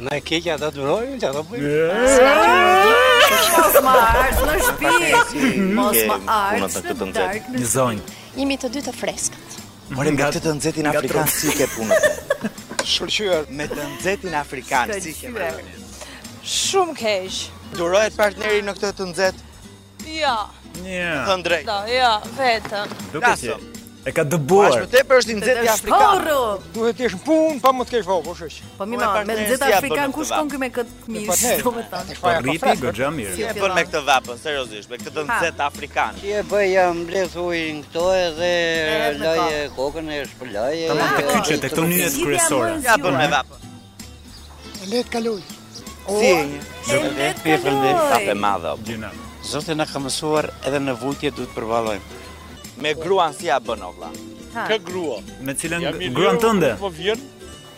[SPEAKER 5] na e keqja ata durojnë, çfarë do bëjmë?
[SPEAKER 3] Mos ma ardh në shtëpi. Mos ma ardh në
[SPEAKER 11] Ke punët në këtë të nxehtë.
[SPEAKER 3] darkë.
[SPEAKER 8] Një zonjë.
[SPEAKER 10] Jemi të dy të freskët.
[SPEAKER 11] Por me
[SPEAKER 8] Nga-
[SPEAKER 11] këtë të nxehtin
[SPEAKER 8] nga
[SPEAKER 11] afrikan
[SPEAKER 8] trup.
[SPEAKER 11] si ke punën?
[SPEAKER 5] Shkëlqyer.
[SPEAKER 11] Me të nxehtin afrikan si ke
[SPEAKER 3] Shkëlqyer.
[SPEAKER 11] punën?
[SPEAKER 10] Shumë keq.
[SPEAKER 11] Durohet partneri në këtë të nxeht?
[SPEAKER 10] Ja,
[SPEAKER 8] Një.
[SPEAKER 11] Thën drejt.
[SPEAKER 10] da, ja, vetëm.
[SPEAKER 8] Duket që
[SPEAKER 11] Lasëm.
[SPEAKER 8] e ka
[SPEAKER 11] Bash
[SPEAKER 8] dëbuar.
[SPEAKER 11] më tepër është i nxehti afrikan.
[SPEAKER 3] Shporru.
[SPEAKER 5] Duhet të jesh në punë pa më të kesh vogël, kështu që.
[SPEAKER 3] Po mi
[SPEAKER 11] Unë e
[SPEAKER 3] marr, me
[SPEAKER 11] partnerin
[SPEAKER 3] nxehtë
[SPEAKER 11] si ja
[SPEAKER 3] afrikan
[SPEAKER 11] bën
[SPEAKER 3] kush
[SPEAKER 11] këtë
[SPEAKER 3] kon ky me kët mish,
[SPEAKER 5] partner.
[SPEAKER 3] domethënë.
[SPEAKER 8] Po rriti goxha mirë.
[SPEAKER 11] Si e bën me këtë vapën, seriozisht, me këtë të
[SPEAKER 3] Ha.
[SPEAKER 11] nxeht afrikan.
[SPEAKER 5] Ti e bëj jam mbledh ujin këto edhe
[SPEAKER 3] Erdhë në
[SPEAKER 5] laj
[SPEAKER 3] kokë.
[SPEAKER 5] kokën e shpëlaj.
[SPEAKER 8] Tamam te
[SPEAKER 3] po,
[SPEAKER 8] kyçet e këto nyjet
[SPEAKER 3] Zgjidhja
[SPEAKER 8] kryesore.
[SPEAKER 3] më e
[SPEAKER 11] Ja bën me
[SPEAKER 3] zgjuar.
[SPEAKER 11] vapën.
[SPEAKER 5] Le të kaloj.
[SPEAKER 11] Si e një?
[SPEAKER 3] E
[SPEAKER 5] Pi e përmbyll.
[SPEAKER 11] Kafe madhe. o.
[SPEAKER 8] Gjëna.
[SPEAKER 5] Zoti na ka mësuar edhe në vujtje duhet përballojmë.
[SPEAKER 11] Me gruan si ja bën o vlla?
[SPEAKER 3] Ha,
[SPEAKER 5] grua.
[SPEAKER 8] Me cilën gruan tënde.
[SPEAKER 5] Po vjen.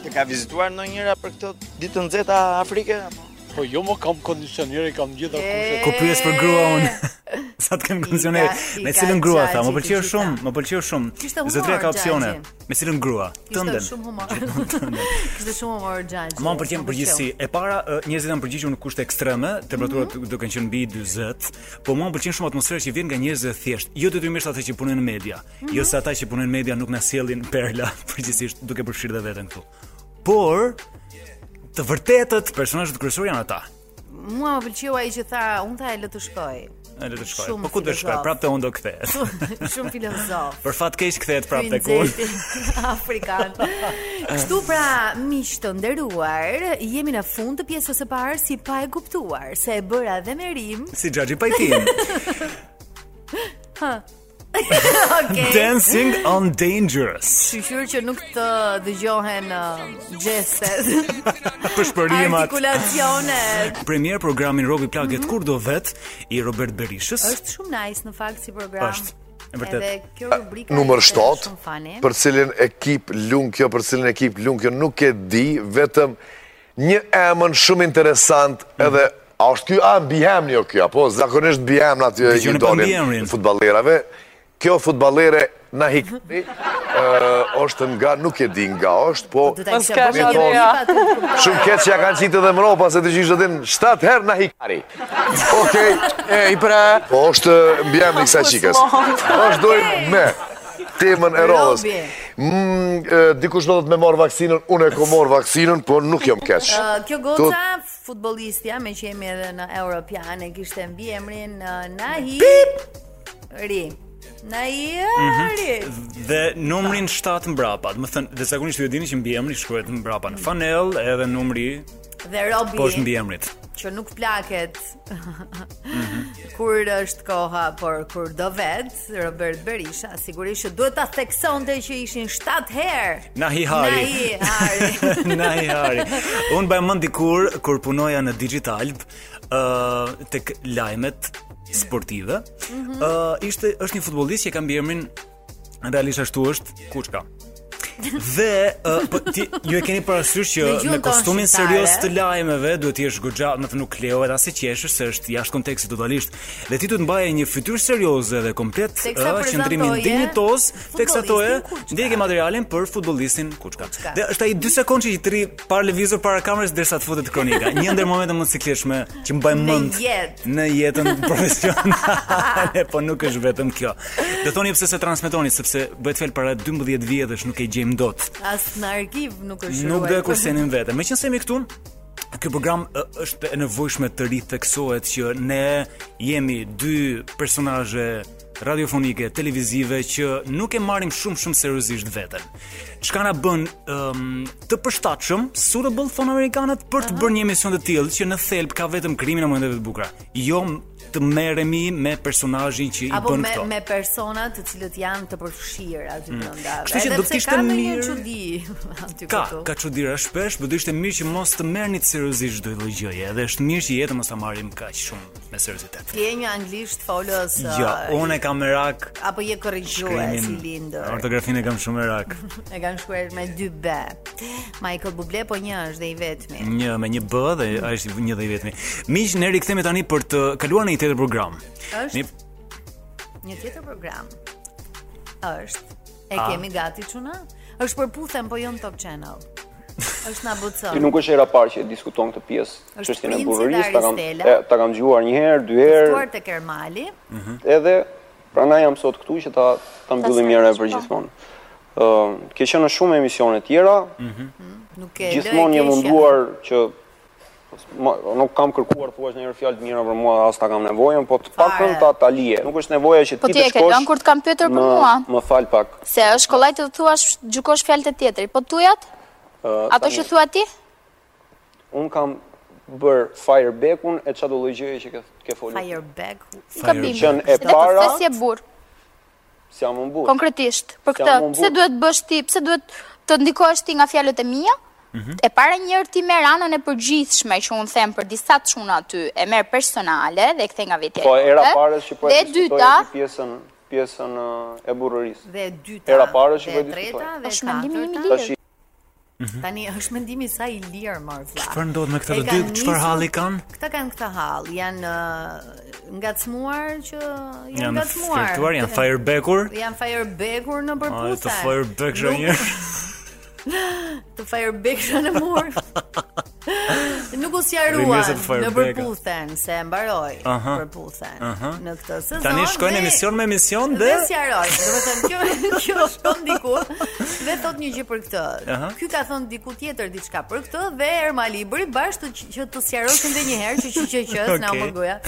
[SPEAKER 11] Të ka vizituar ndonjëra për këtë ditë të nxehta afrike?
[SPEAKER 5] Po jo më kam kondicionere, kam gjitha
[SPEAKER 3] e-
[SPEAKER 8] Ku pyes për grua unë. Sa të kem kondicioner.
[SPEAKER 3] I ka- i
[SPEAKER 8] Me
[SPEAKER 3] ka
[SPEAKER 8] cilën grua tha,
[SPEAKER 3] Xhaxhi,
[SPEAKER 8] më pëlqeu
[SPEAKER 3] ti qita.
[SPEAKER 8] shumë, më pëlqeu shumë.
[SPEAKER 3] Kishte humor,
[SPEAKER 8] Zotria ka opsione.
[SPEAKER 3] Xhaxhi.
[SPEAKER 8] Me cilën grua?
[SPEAKER 3] Kishte
[SPEAKER 8] Tënden.
[SPEAKER 3] shumë humor. Kishte shumë humor Xhaxhi.
[SPEAKER 8] Ma më pëlqen përgjithësi. E para, ë, njerëzit janë përgjigjur në kushte ekstreme, temperaturat do kanë qenë mbi 40, po mua më pëlqen shumë atmosfera që vjen nga njerëz të thjeshtë, jo detyrimisht ata që punojnë në media. Jo se ata që punojnë në media nuk na sjellin perla, përgjithsisht duke përfshirë dhe veten këtu. Por të vërtetët personazhet kryesor janë ata.
[SPEAKER 3] Mua më pëlqeu ai që tha, unë tha e lë të shkoj.
[SPEAKER 8] E le të shkoj.
[SPEAKER 3] Shumë
[SPEAKER 8] Po ku do të shkoj?
[SPEAKER 3] filozof.
[SPEAKER 8] Prapë te unë do kthehet.
[SPEAKER 3] Shumë filozof.
[SPEAKER 8] Për fat keq kthehet prapë tek
[SPEAKER 3] Ky
[SPEAKER 8] unë.
[SPEAKER 3] nxehti afrikan. Kështu pra, miq të nderuar, jemi në fund të pjesës së parë si pa e kuptuar se e bëra dhe me rim.
[SPEAKER 8] Si Xhaxhi Pajtin.
[SPEAKER 3] Okej.
[SPEAKER 8] Dancing on Dangerous.
[SPEAKER 3] Shqyqyr që nuk të dëgjohen uh, gjeset,
[SPEAKER 8] Për shpërimat.
[SPEAKER 3] artikulacionet.
[SPEAKER 8] Premier programin Robi Plaket kur do vet i Robert Berishës.
[SPEAKER 3] Mhm. Është shumë nice në fakt si program.
[SPEAKER 8] Është, e vërtet.
[SPEAKER 3] Edhe kjo rubrika
[SPEAKER 12] Numër
[SPEAKER 3] është
[SPEAKER 12] 7,
[SPEAKER 3] shumë fani.
[SPEAKER 12] për cilin ekip lung kjo, për cilin ekip lung kjo, nuk e di, vetëm një emën shumë interesant edhe A është kjo, a mbiemni o kjo, po zakonisht mbiemnë aty i
[SPEAKER 8] Dëgjoni pa mbiemrin.
[SPEAKER 12] dolin futballerave. Kjo futballere na hik, ë, është nga, nuk e di nga është, po
[SPEAKER 3] Do ta kisha
[SPEAKER 13] s'ka
[SPEAKER 3] bërë një
[SPEAKER 12] shkallë,
[SPEAKER 3] klip
[SPEAKER 12] ja.
[SPEAKER 3] aty të kuptoj.
[SPEAKER 12] Shumë keq që ja kanë qitë edhe më ropa, se të gjishtë dhe din 7 herë na hikari. Okej, e i pra... Po është mbjem një kësa qikës. është dojnë me temën e rodhës.
[SPEAKER 3] Robi.
[SPEAKER 12] Mm, e, dikush do të me marë vaksinën, unë e ko marë vaksinën, po nuk jom keq.
[SPEAKER 3] Ë, Kjo goca futbollistja, me që jemi edhe në Europian, e kishte mbi emrin uh, Nahi Ri. Nahi
[SPEAKER 8] Mhm.
[SPEAKER 3] Ri.
[SPEAKER 8] Dhe numrin 7 mbrapa, do të thënë, dhe
[SPEAKER 3] Mhm.
[SPEAKER 8] zakonisht ju e dini që mbiemri shkruhet mbrapa në fanell, edhe numri
[SPEAKER 3] Dhe Robi
[SPEAKER 8] po është mbiemrit.
[SPEAKER 3] që nuk plaket
[SPEAKER 8] Mhm.
[SPEAKER 3] kur është koha, por kur do vet, Robert Berisha sigurisht që duhet ta theksonte që ishin 7 herë.
[SPEAKER 8] Nahi Hari.
[SPEAKER 3] Nahi Hari.
[SPEAKER 8] Nahi Hari. Unë bëjmë mund dikur, kur punoja në Digitalb, uh, tek lajmet sportive,
[SPEAKER 11] Mhm.
[SPEAKER 8] uh, ishte, është një futbolist që ka mbi emrin, realisht ashtu është, Kuçka. Dhe uh, po ti ju e keni parasysh që
[SPEAKER 11] Në gjuhën
[SPEAKER 8] me
[SPEAKER 11] tonë
[SPEAKER 8] kostumin
[SPEAKER 11] shqiptare.
[SPEAKER 8] serios të lajmeve duhet të jesh goxha, më të nuk lejohet as e qeshësh se është jashtë kontekstit totalisht. Dhe ti duhet mbaje një fytyrë serioze dhe komplet
[SPEAKER 11] Teksa
[SPEAKER 8] ë, qëndrimin
[SPEAKER 11] prezantoje
[SPEAKER 8] dinjitos, teksa toje
[SPEAKER 11] futbollistin Kuçka.
[SPEAKER 8] ndjekë materialin për futbollistin Kuçka. Dhe është ai 2 sekondë që i tri para lëvizur para kamerës derisa të futet kronika. Një ndër momentet më të cikliqshme që mbaj
[SPEAKER 3] Në
[SPEAKER 8] mend
[SPEAKER 3] jetë.
[SPEAKER 8] në jetën profesionale, po nuk është vetëm kjo. Do thoni pse se transmetoni sepse bëhet fjalë para 12 vjetësh nuk e gjejmë dot.
[SPEAKER 3] As në arkiv nuk është
[SPEAKER 8] Nuk
[SPEAKER 3] ruajtur.
[SPEAKER 8] do e kursenin vete. Me që jemi këtu, Ky program ë, është e nevojshme të ritheksohet që ne jemi dy personazhe radiofonike, televizive që nuk e marrim shumë shumë seriozisht veten. Çka na bën um, të përshtatshëm, suitable thon amerikanët për të bërë një emision të tillë që në thelb ka vetëm krimin e momenteve të bukura. Jo m- të merremi me personazhin që i
[SPEAKER 3] apo
[SPEAKER 8] bën
[SPEAKER 3] me
[SPEAKER 8] këto.
[SPEAKER 3] me persona të cilët janë të përfshirë aty
[SPEAKER 8] Mm.
[SPEAKER 3] brenda.
[SPEAKER 8] Kështu që
[SPEAKER 3] Edhe
[SPEAKER 8] do të
[SPEAKER 3] pse
[SPEAKER 8] ishte
[SPEAKER 3] ka ndonjë
[SPEAKER 8] mirë-
[SPEAKER 3] çudi aty
[SPEAKER 8] Ka,
[SPEAKER 3] këtu.
[SPEAKER 8] ka çuditëra shpesh, por do ishte mirë që mos të merrni të seriozisht çdo lloj gjëje, edhe është mirë që jetën mos ta marrim kaq shumë me seriozitet.
[SPEAKER 3] Ti je një anglisht folës.
[SPEAKER 8] Jo,
[SPEAKER 3] uh,
[SPEAKER 8] unë e kam merak
[SPEAKER 3] apo je korrigjues i
[SPEAKER 8] shkrimin.
[SPEAKER 3] lindur.
[SPEAKER 8] Ortografinë e kam shumë merak.
[SPEAKER 3] E kanë shkruar me dy b. Michael Bublé po një është dhe i vetmi.
[SPEAKER 8] Një me një b dhe a është një dhe i vetmi. Miq, ne rikthehemi tani për të kaluar në një tjetër program.
[SPEAKER 3] Është
[SPEAKER 8] Një
[SPEAKER 3] një tjetër program. Është e
[SPEAKER 8] A?
[SPEAKER 3] kemi gati çuna? Është për puthen po jo në Top Channel. Është na
[SPEAKER 14] Ky
[SPEAKER 3] bucon.
[SPEAKER 14] nuk është hera e parë që e diskuton këtë pjesë
[SPEAKER 3] Është
[SPEAKER 14] çështjen e
[SPEAKER 3] princi
[SPEAKER 14] burrërisë, ta kam
[SPEAKER 3] Aristela.
[SPEAKER 14] e, ta kam dëgjuar një herë, dy herë,
[SPEAKER 3] Tuar tek Ermali.
[SPEAKER 14] edhe prandaj jam sot këtu që ta ta mbyllim një herë
[SPEAKER 3] sqarosh,
[SPEAKER 14] për
[SPEAKER 3] po.
[SPEAKER 14] gjithmonë. Ë, ke qenë në shumë emisione tjera,
[SPEAKER 3] Nuk e lë.
[SPEAKER 14] gjithmonë
[SPEAKER 3] e
[SPEAKER 14] je
[SPEAKER 3] keqja.
[SPEAKER 14] munduar që ma- nuk kam kërkuar thua në herë fjalë të mira për mua, as ta kam nevojën, po të paktën ta ta lije. Nuk është nevoja që
[SPEAKER 15] Po ti
[SPEAKER 14] ti të
[SPEAKER 15] e ke
[SPEAKER 14] shkosh.
[SPEAKER 15] lënë kur të kam pyetur për
[SPEAKER 14] më-
[SPEAKER 15] mua.
[SPEAKER 14] Më fal pak.
[SPEAKER 15] Se është kollaj të thuash gjykosh fjalët e tjetrit, po tujat,
[SPEAKER 14] Ë,
[SPEAKER 15] ato
[SPEAKER 14] tani-
[SPEAKER 15] që thua ti,
[SPEAKER 14] Un kam bër Fireback-un e çfarë do lloj gjëje që ke ke folur.
[SPEAKER 3] Fireback.
[SPEAKER 15] gabim.
[SPEAKER 14] Qen e
[SPEAKER 15] Edhe
[SPEAKER 14] para,
[SPEAKER 15] pse si e burr,
[SPEAKER 14] si jam unë burr.
[SPEAKER 15] konkretisht, për
[SPEAKER 14] Jam
[SPEAKER 15] këtë,
[SPEAKER 14] unë
[SPEAKER 15] pse
[SPEAKER 14] burr.
[SPEAKER 15] duhet bësh ti, pse duhet të ndikohesh ti nga fjalët e mia? E para njërë ti merë anën e përgjithshme që unë them për disa të shuna aty, e merë personale dhe e kthe nga vetja.
[SPEAKER 14] Po
[SPEAKER 15] jote.
[SPEAKER 14] era parës që po
[SPEAKER 15] Dhe
[SPEAKER 14] e
[SPEAKER 15] e
[SPEAKER 14] diskutoj
[SPEAKER 15] dyta,
[SPEAKER 14] pjesën pjesën ë, e burrërisë.
[SPEAKER 3] Dhe e dyta.
[SPEAKER 14] Era parës që
[SPEAKER 3] dhe
[SPEAKER 14] po e
[SPEAKER 3] e
[SPEAKER 14] diskutoj.
[SPEAKER 3] treta dhe e
[SPEAKER 15] Është mendimi i
[SPEAKER 3] katërta.
[SPEAKER 14] Tash
[SPEAKER 3] Tani është mendimi sa i lirë më vëlla.
[SPEAKER 8] Çfarë ndodh me këta
[SPEAKER 3] E
[SPEAKER 8] të dy?
[SPEAKER 3] kanë
[SPEAKER 8] Çfarë
[SPEAKER 3] nisur-
[SPEAKER 8] halli kanë?
[SPEAKER 3] Këta kanë këtë hall, janë ë, ngacmuar që janë
[SPEAKER 8] Janë
[SPEAKER 3] ngacmuar.
[SPEAKER 8] flirtuar, janë firebackur.
[SPEAKER 3] Janë firebekur në
[SPEAKER 8] Ai
[SPEAKER 3] përputhe.
[SPEAKER 8] të fireback shë një.
[SPEAKER 3] Të firebekshën në mur. Nuk u
[SPEAKER 8] Rimese
[SPEAKER 3] sqaruan
[SPEAKER 8] të
[SPEAKER 3] në
[SPEAKER 8] firebeka.
[SPEAKER 3] përputhen se mbaroi
[SPEAKER 8] Aha.
[SPEAKER 3] përputhen
[SPEAKER 8] Aha.
[SPEAKER 3] në këtë sezon.
[SPEAKER 8] Tani shkojnë
[SPEAKER 3] dhe-
[SPEAKER 8] emision me emision
[SPEAKER 3] Dhe
[SPEAKER 8] dhe
[SPEAKER 3] sqaroj. Domethënë kjo kjo shkon diku dhe thot një gjë për këtë.
[SPEAKER 8] Aha.
[SPEAKER 3] Ky ka thënë diku tjetër diçka për këtë dhe Ermali i bëri bash të që të sqaroshin edhe një herë që që që që s'na
[SPEAKER 8] Okej.
[SPEAKER 3] më goja.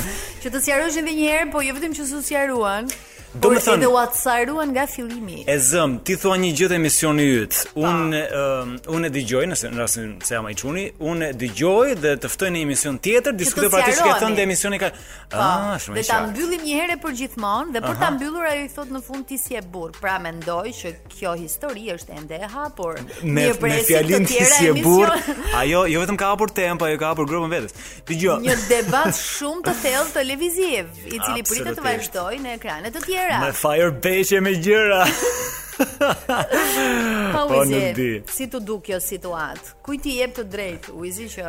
[SPEAKER 3] Që të sqaroshin edhe një herë, po jo vetëm që s'u sqaruan.
[SPEAKER 8] Do
[SPEAKER 3] por
[SPEAKER 8] me thënë-
[SPEAKER 3] edhe u atësaruan nga fillimi.
[SPEAKER 8] E zëm, ti thua një gjë të emisioni yt. Unë um, unë e dëgjoj nëse në rastin se jam ai çuni, unë e dëgjoj dhe të ftoj në emision tjetër, diskutoj për atë që ke
[SPEAKER 3] sqaroni.
[SPEAKER 8] thënë dhe emisioni ka.
[SPEAKER 3] Po,
[SPEAKER 8] Ah, shumë
[SPEAKER 3] dhe
[SPEAKER 8] e
[SPEAKER 3] ta
[SPEAKER 8] qartë.
[SPEAKER 3] mbyllim një herë për gjithmonë dhe për ta
[SPEAKER 8] Aha.
[SPEAKER 3] mbyllur ajo i thot në fund ti si e burr. Pra mendoj që kjo histori është ende e hapur.
[SPEAKER 8] Me
[SPEAKER 3] Mirë
[SPEAKER 8] me
[SPEAKER 3] presim
[SPEAKER 8] fjalin
[SPEAKER 3] të
[SPEAKER 8] ti
[SPEAKER 3] tjera
[SPEAKER 8] si e burr.
[SPEAKER 3] emision-
[SPEAKER 8] Ajo jo vetëm ka hapur tempo, ajo ka hapur grupën vetes. Dgjoj.
[SPEAKER 3] Një debat shumë të thellë televiziv, i cili pritet të
[SPEAKER 8] Absolutisht.
[SPEAKER 3] vazhdojë në ekrane të tjera.
[SPEAKER 8] Me fire beshe me gjëra.
[SPEAKER 3] Pa
[SPEAKER 8] po
[SPEAKER 3] Uizi,
[SPEAKER 8] nuk di.
[SPEAKER 3] si të duk kjo situatë? Kujt i jep të drejtë Uizi që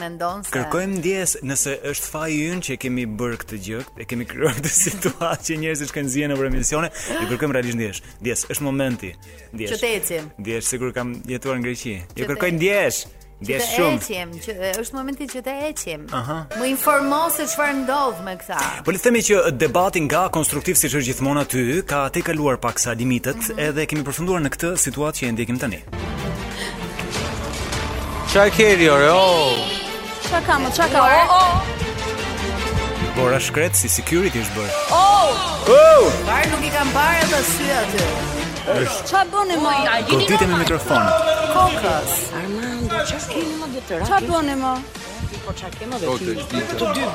[SPEAKER 3] mendon se
[SPEAKER 8] Kërkojmë ndjes nëse është faji ynë që e kemi bërë këtë gjë, e kemi krijuar këtë situatë që njerëzit kanë zihen nëpër emisione, i kërkojmë realisht ndjes. Ndjes, është momenti. Ndjes.
[SPEAKER 3] që të ecim?
[SPEAKER 8] Ndjesh sigur kam jetuar në Greqi.
[SPEAKER 3] Që
[SPEAKER 8] Ju
[SPEAKER 3] të-
[SPEAKER 8] kërkoj ndjesh.
[SPEAKER 3] Që
[SPEAKER 8] Ndjesh
[SPEAKER 3] të
[SPEAKER 8] shumë.
[SPEAKER 3] ecim, që është momenti që të ecim.
[SPEAKER 8] Aha.
[SPEAKER 3] Më informo se çfarë ndodh me këta.
[SPEAKER 8] Po le të themi që debati nga konstruktiv siç është gjithmonë aty, ka te kaluar pak sa limitet edhe kemi përfunduar në këtë situatë që e ndjekim tani. Çfarë keni ore? Oh,
[SPEAKER 15] qa ka më, qa ka orë?
[SPEAKER 8] bora shkret si security është bërë.
[SPEAKER 15] Oh!
[SPEAKER 8] Oh!
[SPEAKER 3] Parë nuk i kam parë ata sy aty.
[SPEAKER 8] Është
[SPEAKER 15] Qa bëni më?
[SPEAKER 8] Goditje me mikrofon.
[SPEAKER 3] Kokës.
[SPEAKER 15] Qa bëni më?
[SPEAKER 11] Po çka kemë
[SPEAKER 16] dhe ti?
[SPEAKER 11] Të dy,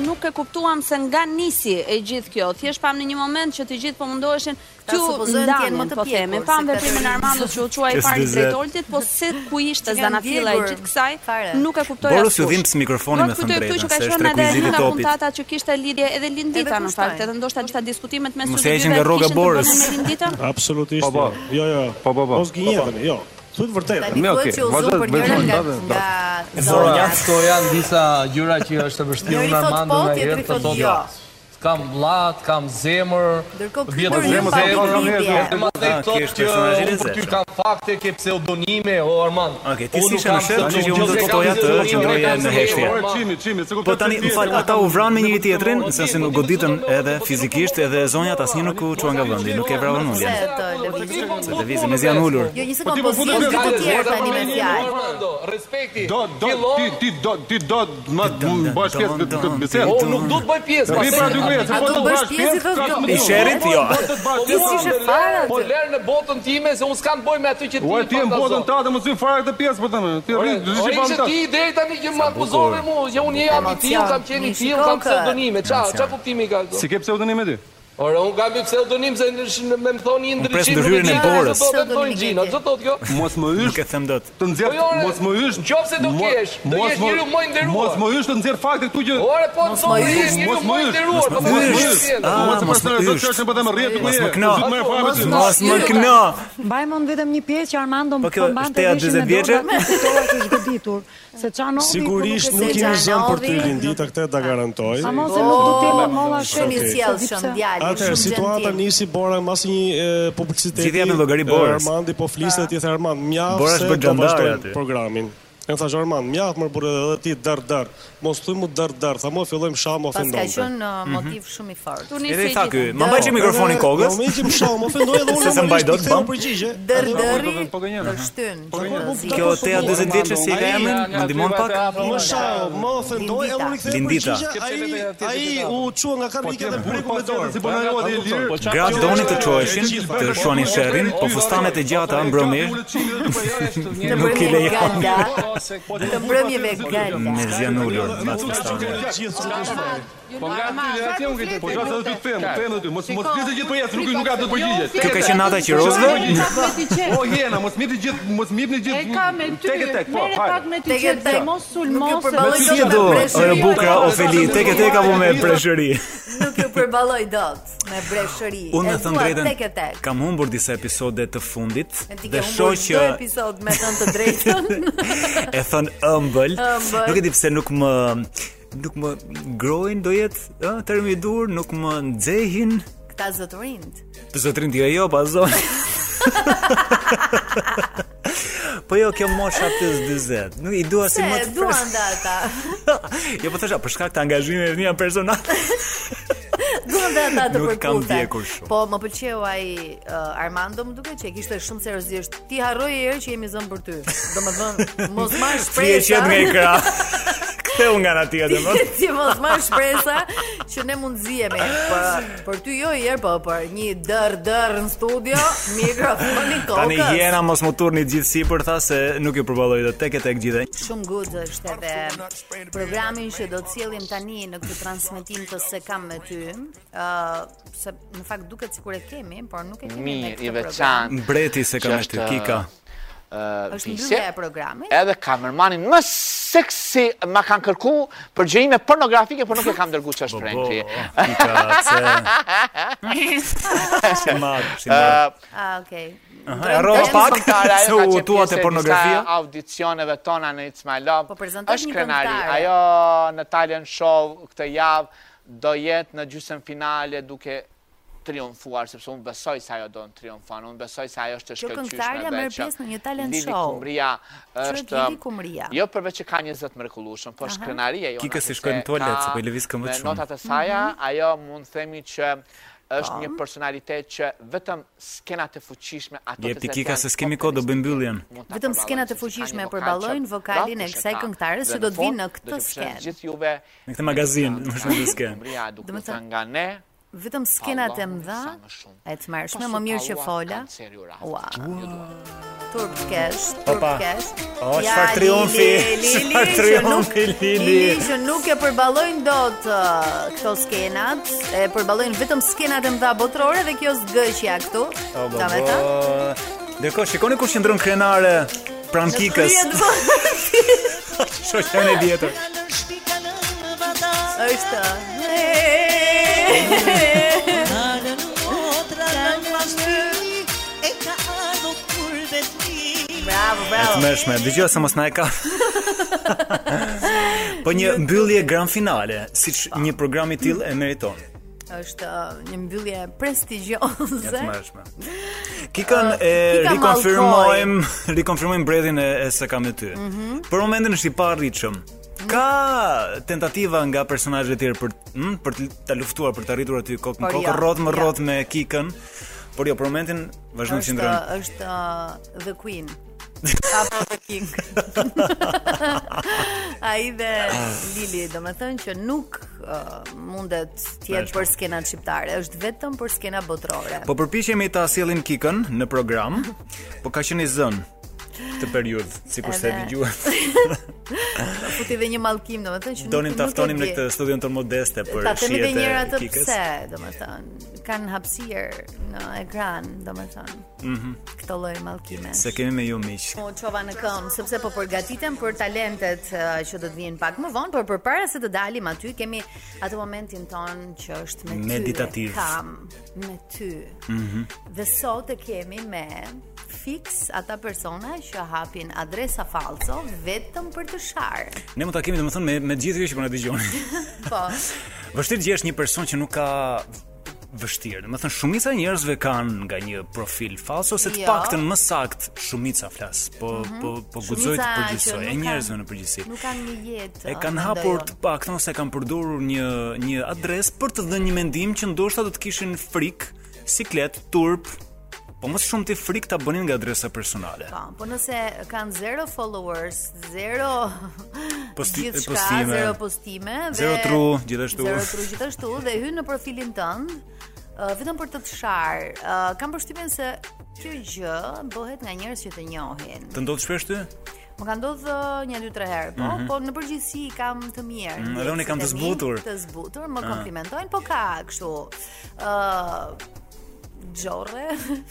[SPEAKER 16] Nuk e kuptuam se nga nisi e gjithë kjo. Thjesht pam në një moment që të gjithë po mundoheshin
[SPEAKER 3] Ta
[SPEAKER 16] t'ju
[SPEAKER 3] supozojmë t'jenë më
[SPEAKER 16] ndanin,
[SPEAKER 3] të
[SPEAKER 16] po
[SPEAKER 3] pjekur,
[SPEAKER 16] themi,
[SPEAKER 3] se
[SPEAKER 16] pam
[SPEAKER 3] këtë
[SPEAKER 16] veprimin e Armando që u quaj
[SPEAKER 8] Qes
[SPEAKER 16] parë
[SPEAKER 8] dëzet.
[SPEAKER 16] drejt oltit, po se ku ishte
[SPEAKER 3] Që kanë
[SPEAKER 16] zanafilla e
[SPEAKER 3] djegur
[SPEAKER 16] gjithë kësaj, nuk e kuptoj
[SPEAKER 8] Boros
[SPEAKER 16] askush.
[SPEAKER 8] ju dhimbs mikrofonin me
[SPEAKER 16] Nuk
[SPEAKER 8] thënë
[SPEAKER 16] kujtoj këtu
[SPEAKER 8] drejtën,
[SPEAKER 16] që ka
[SPEAKER 8] se është
[SPEAKER 16] qenë edhe
[SPEAKER 8] rekvizit i
[SPEAKER 16] nga
[SPEAKER 8] topit.
[SPEAKER 16] kontata që kishte lidhje edhe Lindita në
[SPEAKER 3] kushtoj.
[SPEAKER 16] fakt, edhe ndoshta gjitha diskutimet me
[SPEAKER 8] Mos
[SPEAKER 16] Syri
[SPEAKER 8] e heqin
[SPEAKER 16] Dyve
[SPEAKER 8] nga rroga
[SPEAKER 16] kishin të
[SPEAKER 8] Borës.
[SPEAKER 16] bënin me Linditën.
[SPEAKER 17] Absolutisht. Po, jo, jo. Po, po, po. Mos gënjeteni, jo. Thuaj vërtetën.
[SPEAKER 18] Tani thuhet që u zon për njërin nga-
[SPEAKER 3] nga
[SPEAKER 18] Por janë këto janë disa gjëra që është e vështirë
[SPEAKER 3] Njëri
[SPEAKER 18] unë
[SPEAKER 3] thot
[SPEAKER 18] Armando
[SPEAKER 3] po,
[SPEAKER 18] nga
[SPEAKER 3] tjetri
[SPEAKER 18] herë të
[SPEAKER 3] thot
[SPEAKER 18] thotë
[SPEAKER 3] jo.
[SPEAKER 18] jo. Kam vllat, kam zemër.
[SPEAKER 3] Ndërkohë ky
[SPEAKER 18] Vjetë
[SPEAKER 3] për një
[SPEAKER 18] zemër,
[SPEAKER 3] pa
[SPEAKER 18] zemër, kam
[SPEAKER 3] lidhje.
[SPEAKER 18] hedhur. Dhe më
[SPEAKER 8] Ah,
[SPEAKER 18] thej
[SPEAKER 8] ky
[SPEAKER 18] thotë
[SPEAKER 8] është
[SPEAKER 18] që
[SPEAKER 8] personazhi
[SPEAKER 18] unë për
[SPEAKER 8] Lezet,
[SPEAKER 18] ty kam fakte, ke pseudonime, o Armand.
[SPEAKER 8] Okej, ti s'ishe në shef, kështu që unë do të thoja të që ndroje në heshtje.
[SPEAKER 17] Çimi, çimi, se
[SPEAKER 8] Po tani, më fal, ata u vranë me njëri tjetrin, në sensin u goditën edhe fizikisht, edhe zonjat asnjë nuk u çuan nga vendi, nuk e vravën
[SPEAKER 3] Se
[SPEAKER 8] mundjen.
[SPEAKER 3] të lëvizin.
[SPEAKER 8] Se lëvizin, mezi janë ulur.
[SPEAKER 3] Jo, një
[SPEAKER 18] Po
[SPEAKER 3] sekond,
[SPEAKER 18] ti
[SPEAKER 3] po
[SPEAKER 18] po
[SPEAKER 3] zgjidh
[SPEAKER 18] futet
[SPEAKER 3] dy të
[SPEAKER 18] në
[SPEAKER 3] tjerë
[SPEAKER 18] kalendarë,
[SPEAKER 3] tani me
[SPEAKER 18] po
[SPEAKER 3] fjalë.
[SPEAKER 18] Armando, respekti.
[SPEAKER 17] Do, do, ti, ti, do, ti do të më të më bësh pjesë të të bisedë.
[SPEAKER 18] O, nuk do të bëj pjesë,
[SPEAKER 17] Ti
[SPEAKER 18] pastaj.
[SPEAKER 17] pra dy vjetë,
[SPEAKER 18] A
[SPEAKER 17] po
[SPEAKER 18] do
[SPEAKER 17] të
[SPEAKER 18] bësh
[SPEAKER 17] bësh
[SPEAKER 18] pjesë,
[SPEAKER 17] pjesë
[SPEAKER 18] do të
[SPEAKER 17] të
[SPEAKER 18] do.
[SPEAKER 17] Po të bësh
[SPEAKER 18] Po
[SPEAKER 17] pjesë.
[SPEAKER 18] lërë në- Po lër në botën time se unë s'kam boj me aty që ti.
[SPEAKER 17] Ua ti e mbotën ta dhe mos i fare këtë pjesë po tani. Ti rri, do të
[SPEAKER 18] Ore
[SPEAKER 17] shihim
[SPEAKER 18] ishte
[SPEAKER 17] ta.
[SPEAKER 18] ti deri tani që më akuzove mu, që unë jam i tillë, kam qenë i
[SPEAKER 17] Emocion.
[SPEAKER 18] tillë, kam
[SPEAKER 17] Emocion.
[SPEAKER 18] pseudonime. Ça, ça kuptimi ka këtu?
[SPEAKER 17] Si ke pseudonim ti?
[SPEAKER 18] Ore, unë kam një pseudonim se në sh- me më thonë një
[SPEAKER 17] pres
[SPEAKER 18] ndryshim.
[SPEAKER 17] ndryrën e borës.
[SPEAKER 18] Do të thonë gjina, ç'do thotë kjo?
[SPEAKER 17] Mos më ysh. Nuk
[SPEAKER 8] e them dot.
[SPEAKER 17] Të nxjerr,
[SPEAKER 18] Po, jo, ore,
[SPEAKER 17] mos më ysh.
[SPEAKER 18] qofse do
[SPEAKER 17] mo-
[SPEAKER 18] kesh, do
[SPEAKER 17] mos
[SPEAKER 18] jesh
[SPEAKER 17] mo-
[SPEAKER 18] njeriu më i nderuar.
[SPEAKER 17] Mos më ysh të nxjerr fakte këtu që.
[SPEAKER 18] Ore, po, Mos po, më je ysh. njeriu
[SPEAKER 17] Mos më
[SPEAKER 18] më i
[SPEAKER 17] ysh.
[SPEAKER 18] nderuar, po, mos më ysh. Ah,
[SPEAKER 17] Mos
[SPEAKER 8] mos më ysh.
[SPEAKER 17] më ysh. Mos më ysh. Mos më ysh.
[SPEAKER 8] Mos
[SPEAKER 17] Mos
[SPEAKER 8] më
[SPEAKER 17] më
[SPEAKER 8] kno.
[SPEAKER 17] ysh.
[SPEAKER 8] Mos më kno.
[SPEAKER 19] Mbaj mend vetëm një pjesë që Armando
[SPEAKER 8] Po
[SPEAKER 19] më
[SPEAKER 8] kjo
[SPEAKER 19] po mbante
[SPEAKER 8] shteja
[SPEAKER 19] vishin
[SPEAKER 8] 40 vjeçe?
[SPEAKER 19] dorë, Kuptova që është goditur, se Çanovi
[SPEAKER 17] Sigurisht nuk
[SPEAKER 19] i
[SPEAKER 17] jemi zënë për ty,
[SPEAKER 19] Lindita,
[SPEAKER 17] këtë ta garantoj.
[SPEAKER 19] Sa mos e nuk do të më molla
[SPEAKER 17] Okej.
[SPEAKER 19] shumë i sjellshëm djalë.
[SPEAKER 17] Atëherë situata nisi Bora mbas një e, publiciteti.
[SPEAKER 8] Gjithë japin llogari
[SPEAKER 17] e,
[SPEAKER 8] Borës.
[SPEAKER 17] Armandi po fliste ti the Armand, mjaft
[SPEAKER 8] Bora është
[SPEAKER 17] se
[SPEAKER 8] bërë
[SPEAKER 17] do
[SPEAKER 8] xhandare aty.
[SPEAKER 17] vazhdojmë programin. Unë thash Armand, mjaft më burrë edhe ti dar dar. Mos thuj mu dar dar, tha mo fillojmë sham
[SPEAKER 3] Pas ka
[SPEAKER 17] ofendon.
[SPEAKER 3] qenë uh, motiv shumë i fortë.
[SPEAKER 8] Edhe i tha ky, "Ma mbaj çik mikrofonin kokës."
[SPEAKER 17] Jo, më ikim sham, ofendoj edhe unë.
[SPEAKER 8] Se se mbaj dot,
[SPEAKER 17] normalisht i ktheu
[SPEAKER 8] bam.
[SPEAKER 17] përgjigje.
[SPEAKER 3] Dër
[SPEAKER 17] Edhe-
[SPEAKER 3] dëri
[SPEAKER 17] Po gënjen.
[SPEAKER 3] të shtyn.
[SPEAKER 8] Kjo Tea 40 vjeçe si e ka emrin, më ndihmon pak.
[SPEAKER 17] Më shau, më ofendoj, e unë i kthej
[SPEAKER 8] Lindita.
[SPEAKER 17] përgjigje. ai- Ai u çua nga karmika dhe mpreku me dorën, si po na joti i lirë.
[SPEAKER 8] Gra donin të çoheshin, të shonin sherrin, po fustanet e gjata mbrëmir nuk i lejon. po,
[SPEAKER 3] Të mbrëmjeve gala.
[SPEAKER 8] Me zjanulur, mas fustane.
[SPEAKER 17] Po nga aty, aty unë këtë. Po çfarë do të them? Them aty, mos mos vizë gjithë për jetë, nuk nuk ka të përgjigjesh.
[SPEAKER 8] Kjo ka qenë nata e qirozve?
[SPEAKER 17] O Jena, mos mirë gjithë, mos mirë
[SPEAKER 20] E
[SPEAKER 17] gjithë.
[SPEAKER 20] ka me ty,
[SPEAKER 17] Tek e tek, po,
[SPEAKER 20] mere
[SPEAKER 17] hajde.
[SPEAKER 20] pak me ty
[SPEAKER 3] Tek e
[SPEAKER 20] që
[SPEAKER 3] tek.
[SPEAKER 20] dhe mos sulmos.
[SPEAKER 3] përballoj
[SPEAKER 8] Si e do, ore bukra Ofeli, tek e tek apo me preshëri.
[SPEAKER 3] Nuk ju përballoj dot me breshëri.
[SPEAKER 8] Unë me
[SPEAKER 3] E
[SPEAKER 8] thënë
[SPEAKER 3] thua Tek e
[SPEAKER 8] drejtën,
[SPEAKER 3] tek.
[SPEAKER 8] kam humbur disa episode të fundit
[SPEAKER 3] E ti ke
[SPEAKER 8] dhe
[SPEAKER 3] humbur
[SPEAKER 8] shoh
[SPEAKER 3] çdo
[SPEAKER 8] që
[SPEAKER 3] episod me thënë të drejtën.
[SPEAKER 8] e thën ëmbël.
[SPEAKER 3] Ëmbël.
[SPEAKER 8] Nuk e di pse nuk më nuk më grojnë do jetë, ë, termi i dur, nuk më nxehin.
[SPEAKER 3] Këta zotërind.
[SPEAKER 8] Të zotrin ti jo, pa zon. po jo, kjo mosha të 40. Nuk i dua si
[SPEAKER 3] Se
[SPEAKER 8] më të
[SPEAKER 3] duan dhe ata.
[SPEAKER 8] Jo, po thashë, për shkak të angazhimeve mia personale.
[SPEAKER 3] Duan dhe ata të
[SPEAKER 8] Nuk kam
[SPEAKER 3] përkuten.
[SPEAKER 8] vdekur shumë.
[SPEAKER 3] Po më pëlqeu ai uh, Armando, më duket që e kishte shumë seriozisht. Ti harroje herë që jemi zënë për ty. Domethënë, mos marr
[SPEAKER 8] Ti e
[SPEAKER 3] shpresë.
[SPEAKER 8] qet nga ekran. Ktheu nga ana tjetër, më.
[SPEAKER 3] Ti- Ti mos marr shpresa që ne mund zihemi. Për për ty jo herë, po për një dër dër në studio, mikrofonin
[SPEAKER 8] Tani
[SPEAKER 3] kokës.
[SPEAKER 8] jena mos më turni gjithë sipër tha se nuk ju përballoj dot tek e tek gjithë.
[SPEAKER 3] Shumë good është edhe programin që do të sjellim tani në këtë transmetim të se kam me ty. ë se në fakt duket sikur e kemi, por nuk e kemi me
[SPEAKER 2] Mirë, i
[SPEAKER 3] këtë program.
[SPEAKER 2] veçantë.
[SPEAKER 8] Mbreti se ka
[SPEAKER 2] që
[SPEAKER 8] me ty,
[SPEAKER 2] është,
[SPEAKER 8] Kika.
[SPEAKER 2] ë,
[SPEAKER 3] Është
[SPEAKER 2] Vise.
[SPEAKER 3] mbyllja e programit.
[SPEAKER 2] Edhe kamermanin më seksi ma kanë kërku përgjërime pornografike, por nuk e kam dërgu që është prank
[SPEAKER 8] Po,
[SPEAKER 2] ti. Ë,
[SPEAKER 3] Ah, okay.
[SPEAKER 8] Aha, e rrova pak, se u tuat e pornografia.
[SPEAKER 2] Në audicioneve tona në It's My Love. Po
[SPEAKER 3] prezantojmë një këngëtare.
[SPEAKER 2] Ajo në Italian Show këtë javë do jetë në gjysmën finale duke triumfuar, sepse unë besoj se ajo do në triumfan, unë besoj se ajo është e
[SPEAKER 3] Kjo
[SPEAKER 2] shkëlqyshme.
[SPEAKER 3] këngëtarja
[SPEAKER 2] dhe
[SPEAKER 3] merr
[SPEAKER 2] që
[SPEAKER 3] pjesë në një talent
[SPEAKER 2] Lili
[SPEAKER 3] show.
[SPEAKER 2] Kumria
[SPEAKER 3] Quhet
[SPEAKER 2] është...
[SPEAKER 3] Lili Kumria.
[SPEAKER 2] Jo përveç që ka një zët mrekullueshëm, po
[SPEAKER 3] Aha.
[SPEAKER 2] është krenaria jona.
[SPEAKER 8] Kika si
[SPEAKER 2] sepse
[SPEAKER 8] shkojnë në tualet,
[SPEAKER 2] ka-
[SPEAKER 8] se po i lëviz këmbët
[SPEAKER 2] me
[SPEAKER 8] shumë.
[SPEAKER 2] Notat e saja,
[SPEAKER 8] Mhm.
[SPEAKER 2] ajo mund themi që është
[SPEAKER 8] Po.
[SPEAKER 2] një personalitet që vetëm skenat e fuqishme ato të
[SPEAKER 8] Jep ti
[SPEAKER 2] cilat
[SPEAKER 8] Kika
[SPEAKER 2] janë
[SPEAKER 8] se s'kemi kohë do bëjmë mbylljen.
[SPEAKER 3] Vetëm skenat e fuqishme e përballojnë vokalin e kësaj këngëtares që do të vinë në këtë skenë.
[SPEAKER 2] Gjithë juve
[SPEAKER 8] Në këtë magazin, më shumë se sken.
[SPEAKER 2] Umbria duke të nga ne
[SPEAKER 3] vetëm skenat e
[SPEAKER 2] Allahu,
[SPEAKER 3] mëdha,
[SPEAKER 2] sa më shumë.
[SPEAKER 3] e të mërshme,
[SPEAKER 2] Pasu
[SPEAKER 3] më mirë që
[SPEAKER 2] palluan
[SPEAKER 3] fola.
[SPEAKER 2] kanceri u raft.
[SPEAKER 3] Ua. Turp kesh, turp
[SPEAKER 8] Opa.
[SPEAKER 3] kesh.
[SPEAKER 8] O, çfarë triumfi,
[SPEAKER 3] Lili, që
[SPEAKER 8] çfarë triumfi,
[SPEAKER 3] nuk-
[SPEAKER 8] Lili.
[SPEAKER 3] që nuk e përballojnë dot ë, këto skenat, e përballojnë vetëm skenat e mëdha botërore dhe kjo zgëshja këtu.
[SPEAKER 8] O, bo,
[SPEAKER 3] Ta me ta.
[SPEAKER 8] bo. Ndërkohë, shikoni ku qëndron krenare pran kikës.
[SPEAKER 3] po.
[SPEAKER 8] Shoqen e vjetër.
[SPEAKER 3] Është. Bravo,
[SPEAKER 8] E të
[SPEAKER 3] bravo.
[SPEAKER 8] mërshme, dëgjoj se mos na e ka. po një mbyllje grand finale, siç
[SPEAKER 3] Ah.
[SPEAKER 8] një program i tillë e meriton.
[SPEAKER 3] Është ë, një mbyllje prestigjioze.
[SPEAKER 8] E të mërshme. Kikën e
[SPEAKER 3] Ah, Kika
[SPEAKER 8] rikonfirmojmë, rikonfirmojmë bredhin e, e se kam me ty.
[SPEAKER 3] Mhm.
[SPEAKER 8] Për momentin është i parritshëm. Ka tentativa nga personazhet e tjerë për mm, për të- ta luftuar për të arritur aty kokë në
[SPEAKER 3] Por
[SPEAKER 8] kokë,
[SPEAKER 3] jo,
[SPEAKER 8] rrot më
[SPEAKER 3] jo.
[SPEAKER 8] rrot me Kikën. Por jo, për momentin vazhdon të
[SPEAKER 3] Është
[SPEAKER 8] qëndron.
[SPEAKER 3] është uh, The Queen. Apo The King. Ai dhe Lili, domethënë që nuk uh, mundet të jetë
[SPEAKER 8] Vazhdo.
[SPEAKER 3] për skenat shqiptare, është vetëm për skena botërore.
[SPEAKER 8] Po përpiqemi ta sjellim Kikën në program, po ka qenë i zën këtë periudhë, sikur se
[SPEAKER 3] Edhe-
[SPEAKER 8] dëgjuat.
[SPEAKER 3] Futi dhe një mallkim, domethënë që
[SPEAKER 8] Donim
[SPEAKER 3] nuk
[SPEAKER 8] ta
[SPEAKER 3] nuk e
[SPEAKER 8] ftonim në
[SPEAKER 3] di.
[SPEAKER 8] këtë studion të modeste për
[SPEAKER 3] Ta themi dhe
[SPEAKER 8] shihet
[SPEAKER 3] njëra
[SPEAKER 8] e
[SPEAKER 3] të
[SPEAKER 8] Kikës.
[SPEAKER 3] pse, domethënë, kanë hapësirë në ekran, domethënë,
[SPEAKER 8] Mhm.
[SPEAKER 3] këto lloj mallkime.
[SPEAKER 8] Se kemi me ju miq.
[SPEAKER 3] U çova në këmbë sepse po përgatitem për talentet eh, që do të vinë pak më vonë, por përpara se të dalim aty kemi atë momentin ton që është me ty.
[SPEAKER 8] Meditativ.
[SPEAKER 3] Kam me ty.
[SPEAKER 8] Mhm.
[SPEAKER 3] Dhe sot e kemi me fix ata persona që hapin adresa falso vetëm për të sharë.
[SPEAKER 8] Ne mund ta kemi domethënë me me gjithë ju që po na dëgjoni.
[SPEAKER 3] Po.
[SPEAKER 8] Vështirë të gjesh një person që nuk ka vështirë. Do të thënë shumica e njerëzve kanë nga një profil fals ose të
[SPEAKER 3] Jo.
[SPEAKER 8] paktën më sakt shumica flas, po
[SPEAKER 3] Mhm.
[SPEAKER 8] po po guxoj të
[SPEAKER 3] Shumica
[SPEAKER 8] përgjithsoj
[SPEAKER 3] që
[SPEAKER 8] e
[SPEAKER 3] nuk
[SPEAKER 8] njerëzve
[SPEAKER 3] kanë-
[SPEAKER 8] në përgjithësi.
[SPEAKER 3] Nuk jo. kanë një jetë.
[SPEAKER 8] E kanë hapur të paktën ose kanë përdorur një një adresë për të dhënë një mendim që ndoshta do të kishin frikë, siklet, turp, po më shumë ti frikë ta bënin nga adresa personale.
[SPEAKER 3] Po, po nëse kanë zero followers, zero
[SPEAKER 8] Posti-
[SPEAKER 3] gjithçka,
[SPEAKER 8] postime.
[SPEAKER 3] zero postime dhe
[SPEAKER 8] Zero tru, gjithashtu.
[SPEAKER 3] Zero tru gjithashtu dhe hyn në profilin tënd uh, vetëm për të të sharë. Uh, kam përshtypjen se kjo gjë bëhet nga njerëz që të njohin.
[SPEAKER 8] Të ndodh shpesh ty?
[SPEAKER 3] Më ka ndodhur uh, një dy tre herë, po,
[SPEAKER 8] Mhm.
[SPEAKER 3] po në përgjithësi kam të mirë.
[SPEAKER 8] Mm, edhe unë kam të
[SPEAKER 3] ndjekësit e mi,
[SPEAKER 8] zbutur.
[SPEAKER 3] Të zbutur, më
[SPEAKER 8] Ah.
[SPEAKER 3] komplimentojnë, po ka kështu ë xhorre.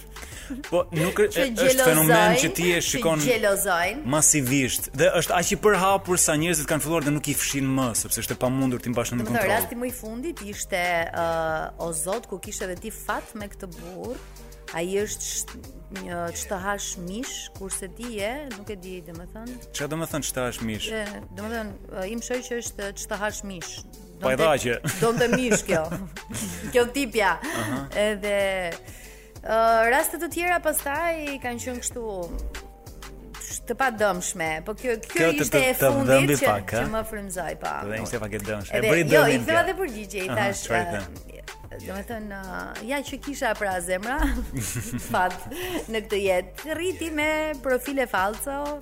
[SPEAKER 8] Po nuk e-
[SPEAKER 3] Që
[SPEAKER 8] është fenomen
[SPEAKER 3] gjelozojnë,
[SPEAKER 8] që ti e
[SPEAKER 3] që
[SPEAKER 8] shikon
[SPEAKER 3] gjelozojnë.
[SPEAKER 8] masivisht dhe është aq i përhapur sa njerëzit kanë filluar dhe nuk i fshin më sepse është e pamundur ti mbash në
[SPEAKER 3] Në
[SPEAKER 8] kontroll.
[SPEAKER 3] rasti më i fundit ishte uh, o zot ku kishe edhe ti fat me këtë burr. Ai është sh- një ç'të hash mish, kurse ti je, nuk e di, domethënë.
[SPEAKER 8] Çfarë do të thënë çta është mish?
[SPEAKER 3] e, Domethënë, uh, im shoj që është ç'të hash mish.
[SPEAKER 8] Po e
[SPEAKER 3] Donte-
[SPEAKER 8] dha që.
[SPEAKER 3] Donte mish kjo. kjo tipja.
[SPEAKER 8] Aha.
[SPEAKER 3] Edhe uh, raste të tjera pastaj kanë qenë kështu të pa dëmshme, po kjo kjo,
[SPEAKER 8] Kjo të-
[SPEAKER 3] ishte
[SPEAKER 8] të-
[SPEAKER 3] e
[SPEAKER 8] të dëmbi
[SPEAKER 3] fundit që,
[SPEAKER 8] pak,
[SPEAKER 3] që
[SPEAKER 8] ha?
[SPEAKER 3] më po. frymzoi pa.
[SPEAKER 8] Dhe ishte pak e dëmshme. E
[SPEAKER 3] Edhe-
[SPEAKER 8] bëri
[SPEAKER 3] Jo,
[SPEAKER 8] dëmin
[SPEAKER 3] i theva
[SPEAKER 8] kjo.
[SPEAKER 3] dhe përgjigje, i
[SPEAKER 8] Aha,
[SPEAKER 3] thash.
[SPEAKER 8] çfarë i
[SPEAKER 3] ë, Do me thënë, ë, ja që kisha pra zemra, fat në këtë jetë. Rriti me profile falso,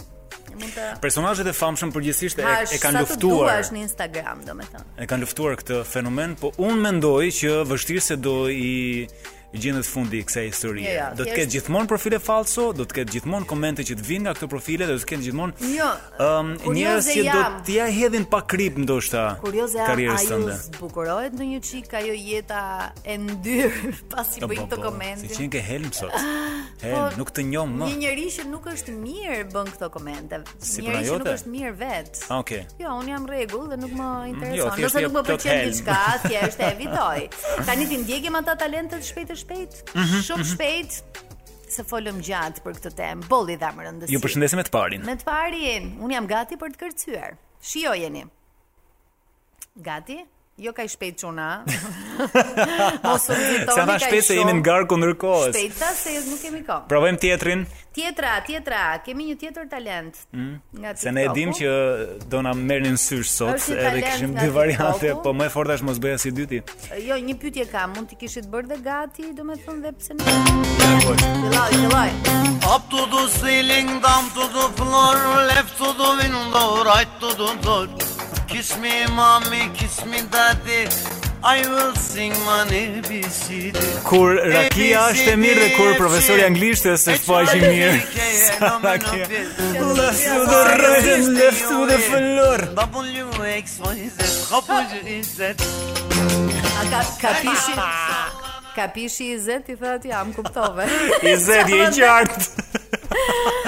[SPEAKER 3] mund të
[SPEAKER 8] Personazhet e famshëm përgjithsisht e,
[SPEAKER 3] hash
[SPEAKER 8] e kanë
[SPEAKER 3] sa të
[SPEAKER 8] luftuar.
[SPEAKER 3] duash në Instagram, do me thënë.
[SPEAKER 8] E kanë luftuar këtë fenomen, po unë mendoj që vështirë se do i i gjendet fundi i kësaj historie.
[SPEAKER 3] Jo, jo,
[SPEAKER 8] do të
[SPEAKER 3] thjesht-
[SPEAKER 8] ketë gjithmonë profile falso, do të ketë gjithmonë komente që të vinë nga këto profile dhe do të ketë gjithmonë
[SPEAKER 3] Jo,
[SPEAKER 8] um,
[SPEAKER 3] kurioze
[SPEAKER 8] njerëz që do
[SPEAKER 3] jam.
[SPEAKER 8] t'ja hedhin pa krip ndoshta
[SPEAKER 3] Kurioze a
[SPEAKER 8] karrierës
[SPEAKER 3] ju
[SPEAKER 8] tënde.
[SPEAKER 3] zbukurohet në një qik ajo jeta e ndyrë pasi
[SPEAKER 8] Po,
[SPEAKER 3] bëjnë
[SPEAKER 8] po,
[SPEAKER 3] të
[SPEAKER 8] po,
[SPEAKER 3] komente.
[SPEAKER 8] Si qenë ke helm sot. Helm,
[SPEAKER 3] Po,
[SPEAKER 8] nuk të njoh më.
[SPEAKER 3] Një njeri që nuk është mirë bën këto komente.
[SPEAKER 8] Si
[SPEAKER 3] njeri
[SPEAKER 8] puna
[SPEAKER 3] që nuk
[SPEAKER 8] jote?
[SPEAKER 3] është mirë vet.
[SPEAKER 8] Ah, okay.
[SPEAKER 3] Jo, unë jam rregull dhe nuk më intereson.
[SPEAKER 8] Mm, jo, thjesht
[SPEAKER 3] Nëse nuk
[SPEAKER 8] jep
[SPEAKER 3] më
[SPEAKER 8] plot
[SPEAKER 3] pëlqen
[SPEAKER 8] helm.
[SPEAKER 3] diçka, thjesht e evitoj. Tani ti ndjekim ata talentet shpejt e shpejt,
[SPEAKER 8] Mhm,
[SPEAKER 3] shumë
[SPEAKER 8] mhm.
[SPEAKER 3] shpejt se folëm gjatë për këtë temë. Bolli dha më rëndësi.
[SPEAKER 8] Ju përshëndesim me të parin.
[SPEAKER 3] Me të parin, unë jam gati për të kërcyer. Shio jeni. Gati? Jo ka i shpejt çuna. Mos u nxitoni.
[SPEAKER 8] Sa na
[SPEAKER 3] kaq
[SPEAKER 8] shpejt se jemi
[SPEAKER 3] shumë.
[SPEAKER 8] në garë kundër kohës.
[SPEAKER 3] Shpejta se nuk kemi kohë.
[SPEAKER 8] Provojmë tjetrin.
[SPEAKER 3] Tjetra, tjetra, kemi një tjetër talent. Mm. Nga
[SPEAKER 8] Se ne e dim që do na merrnin sysh sot,
[SPEAKER 3] Është një
[SPEAKER 8] edhe
[SPEAKER 3] talent
[SPEAKER 8] kishim
[SPEAKER 3] nga
[SPEAKER 8] dy variante,
[SPEAKER 3] TikToku.
[SPEAKER 8] po më e forta është mos bëja si dyti.
[SPEAKER 3] Jo, një pyetje kam, mund t'i kishit bërë dhe gati, do me thënë dhe pse ne... Filloj, filloj.
[SPEAKER 11] Up to the ceiling, down to the floor, left to the window, right to the door. Kiss me, mommy, kiss me, daddy. I will sing my ABCD
[SPEAKER 8] Kur rakia është e mirë dhe kur profesori anglisht është faqi mirë. Sa rakia. Left to the right and left to the floor.
[SPEAKER 3] A ka kapishi? Kapishi i zet i tha ti, am kuptove.
[SPEAKER 8] I zeti i qartë.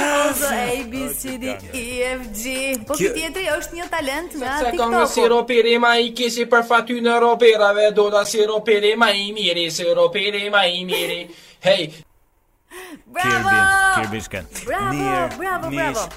[SPEAKER 3] Ose A, B, C, D, E, F, G Po
[SPEAKER 8] Kjo-
[SPEAKER 3] këtë tjetëri është një talent nga
[SPEAKER 18] tá
[SPEAKER 20] Se
[SPEAKER 3] TikTok-u
[SPEAKER 20] kam në siropere ma i kesi për faty në roperave
[SPEAKER 18] né,
[SPEAKER 20] Do da siropere ma i miri, siropere ma i miri Hej,
[SPEAKER 3] Bravo!
[SPEAKER 8] Kirbishken.
[SPEAKER 3] Bravo, bravo, bravo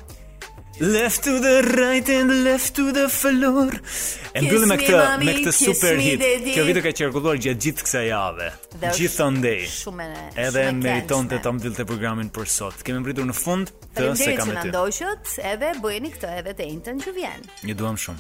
[SPEAKER 8] Left to the right and left to the floor. E
[SPEAKER 3] Kiss
[SPEAKER 8] mbyllim me
[SPEAKER 3] me,
[SPEAKER 8] këtë
[SPEAKER 3] mami,
[SPEAKER 8] me këtë
[SPEAKER 3] kiss
[SPEAKER 8] super
[SPEAKER 3] me,
[SPEAKER 8] hit.
[SPEAKER 3] daddy.
[SPEAKER 8] Kjo video ka qarkulluar gjatë gjithë kësaj jave.
[SPEAKER 3] Dhe është
[SPEAKER 8] Gjithandej.
[SPEAKER 3] shumë e- shumë
[SPEAKER 8] Edhe
[SPEAKER 3] e
[SPEAKER 8] meritonte ta mbyllte programin për sot. Kemi mbritur në fund të se
[SPEAKER 3] Faleminderit që
[SPEAKER 8] kam me
[SPEAKER 3] na
[SPEAKER 8] ty.
[SPEAKER 3] ndoqët, edhe bëjeni këtë edhe të njëjtën që vjen.
[SPEAKER 8] Ju duam shumë.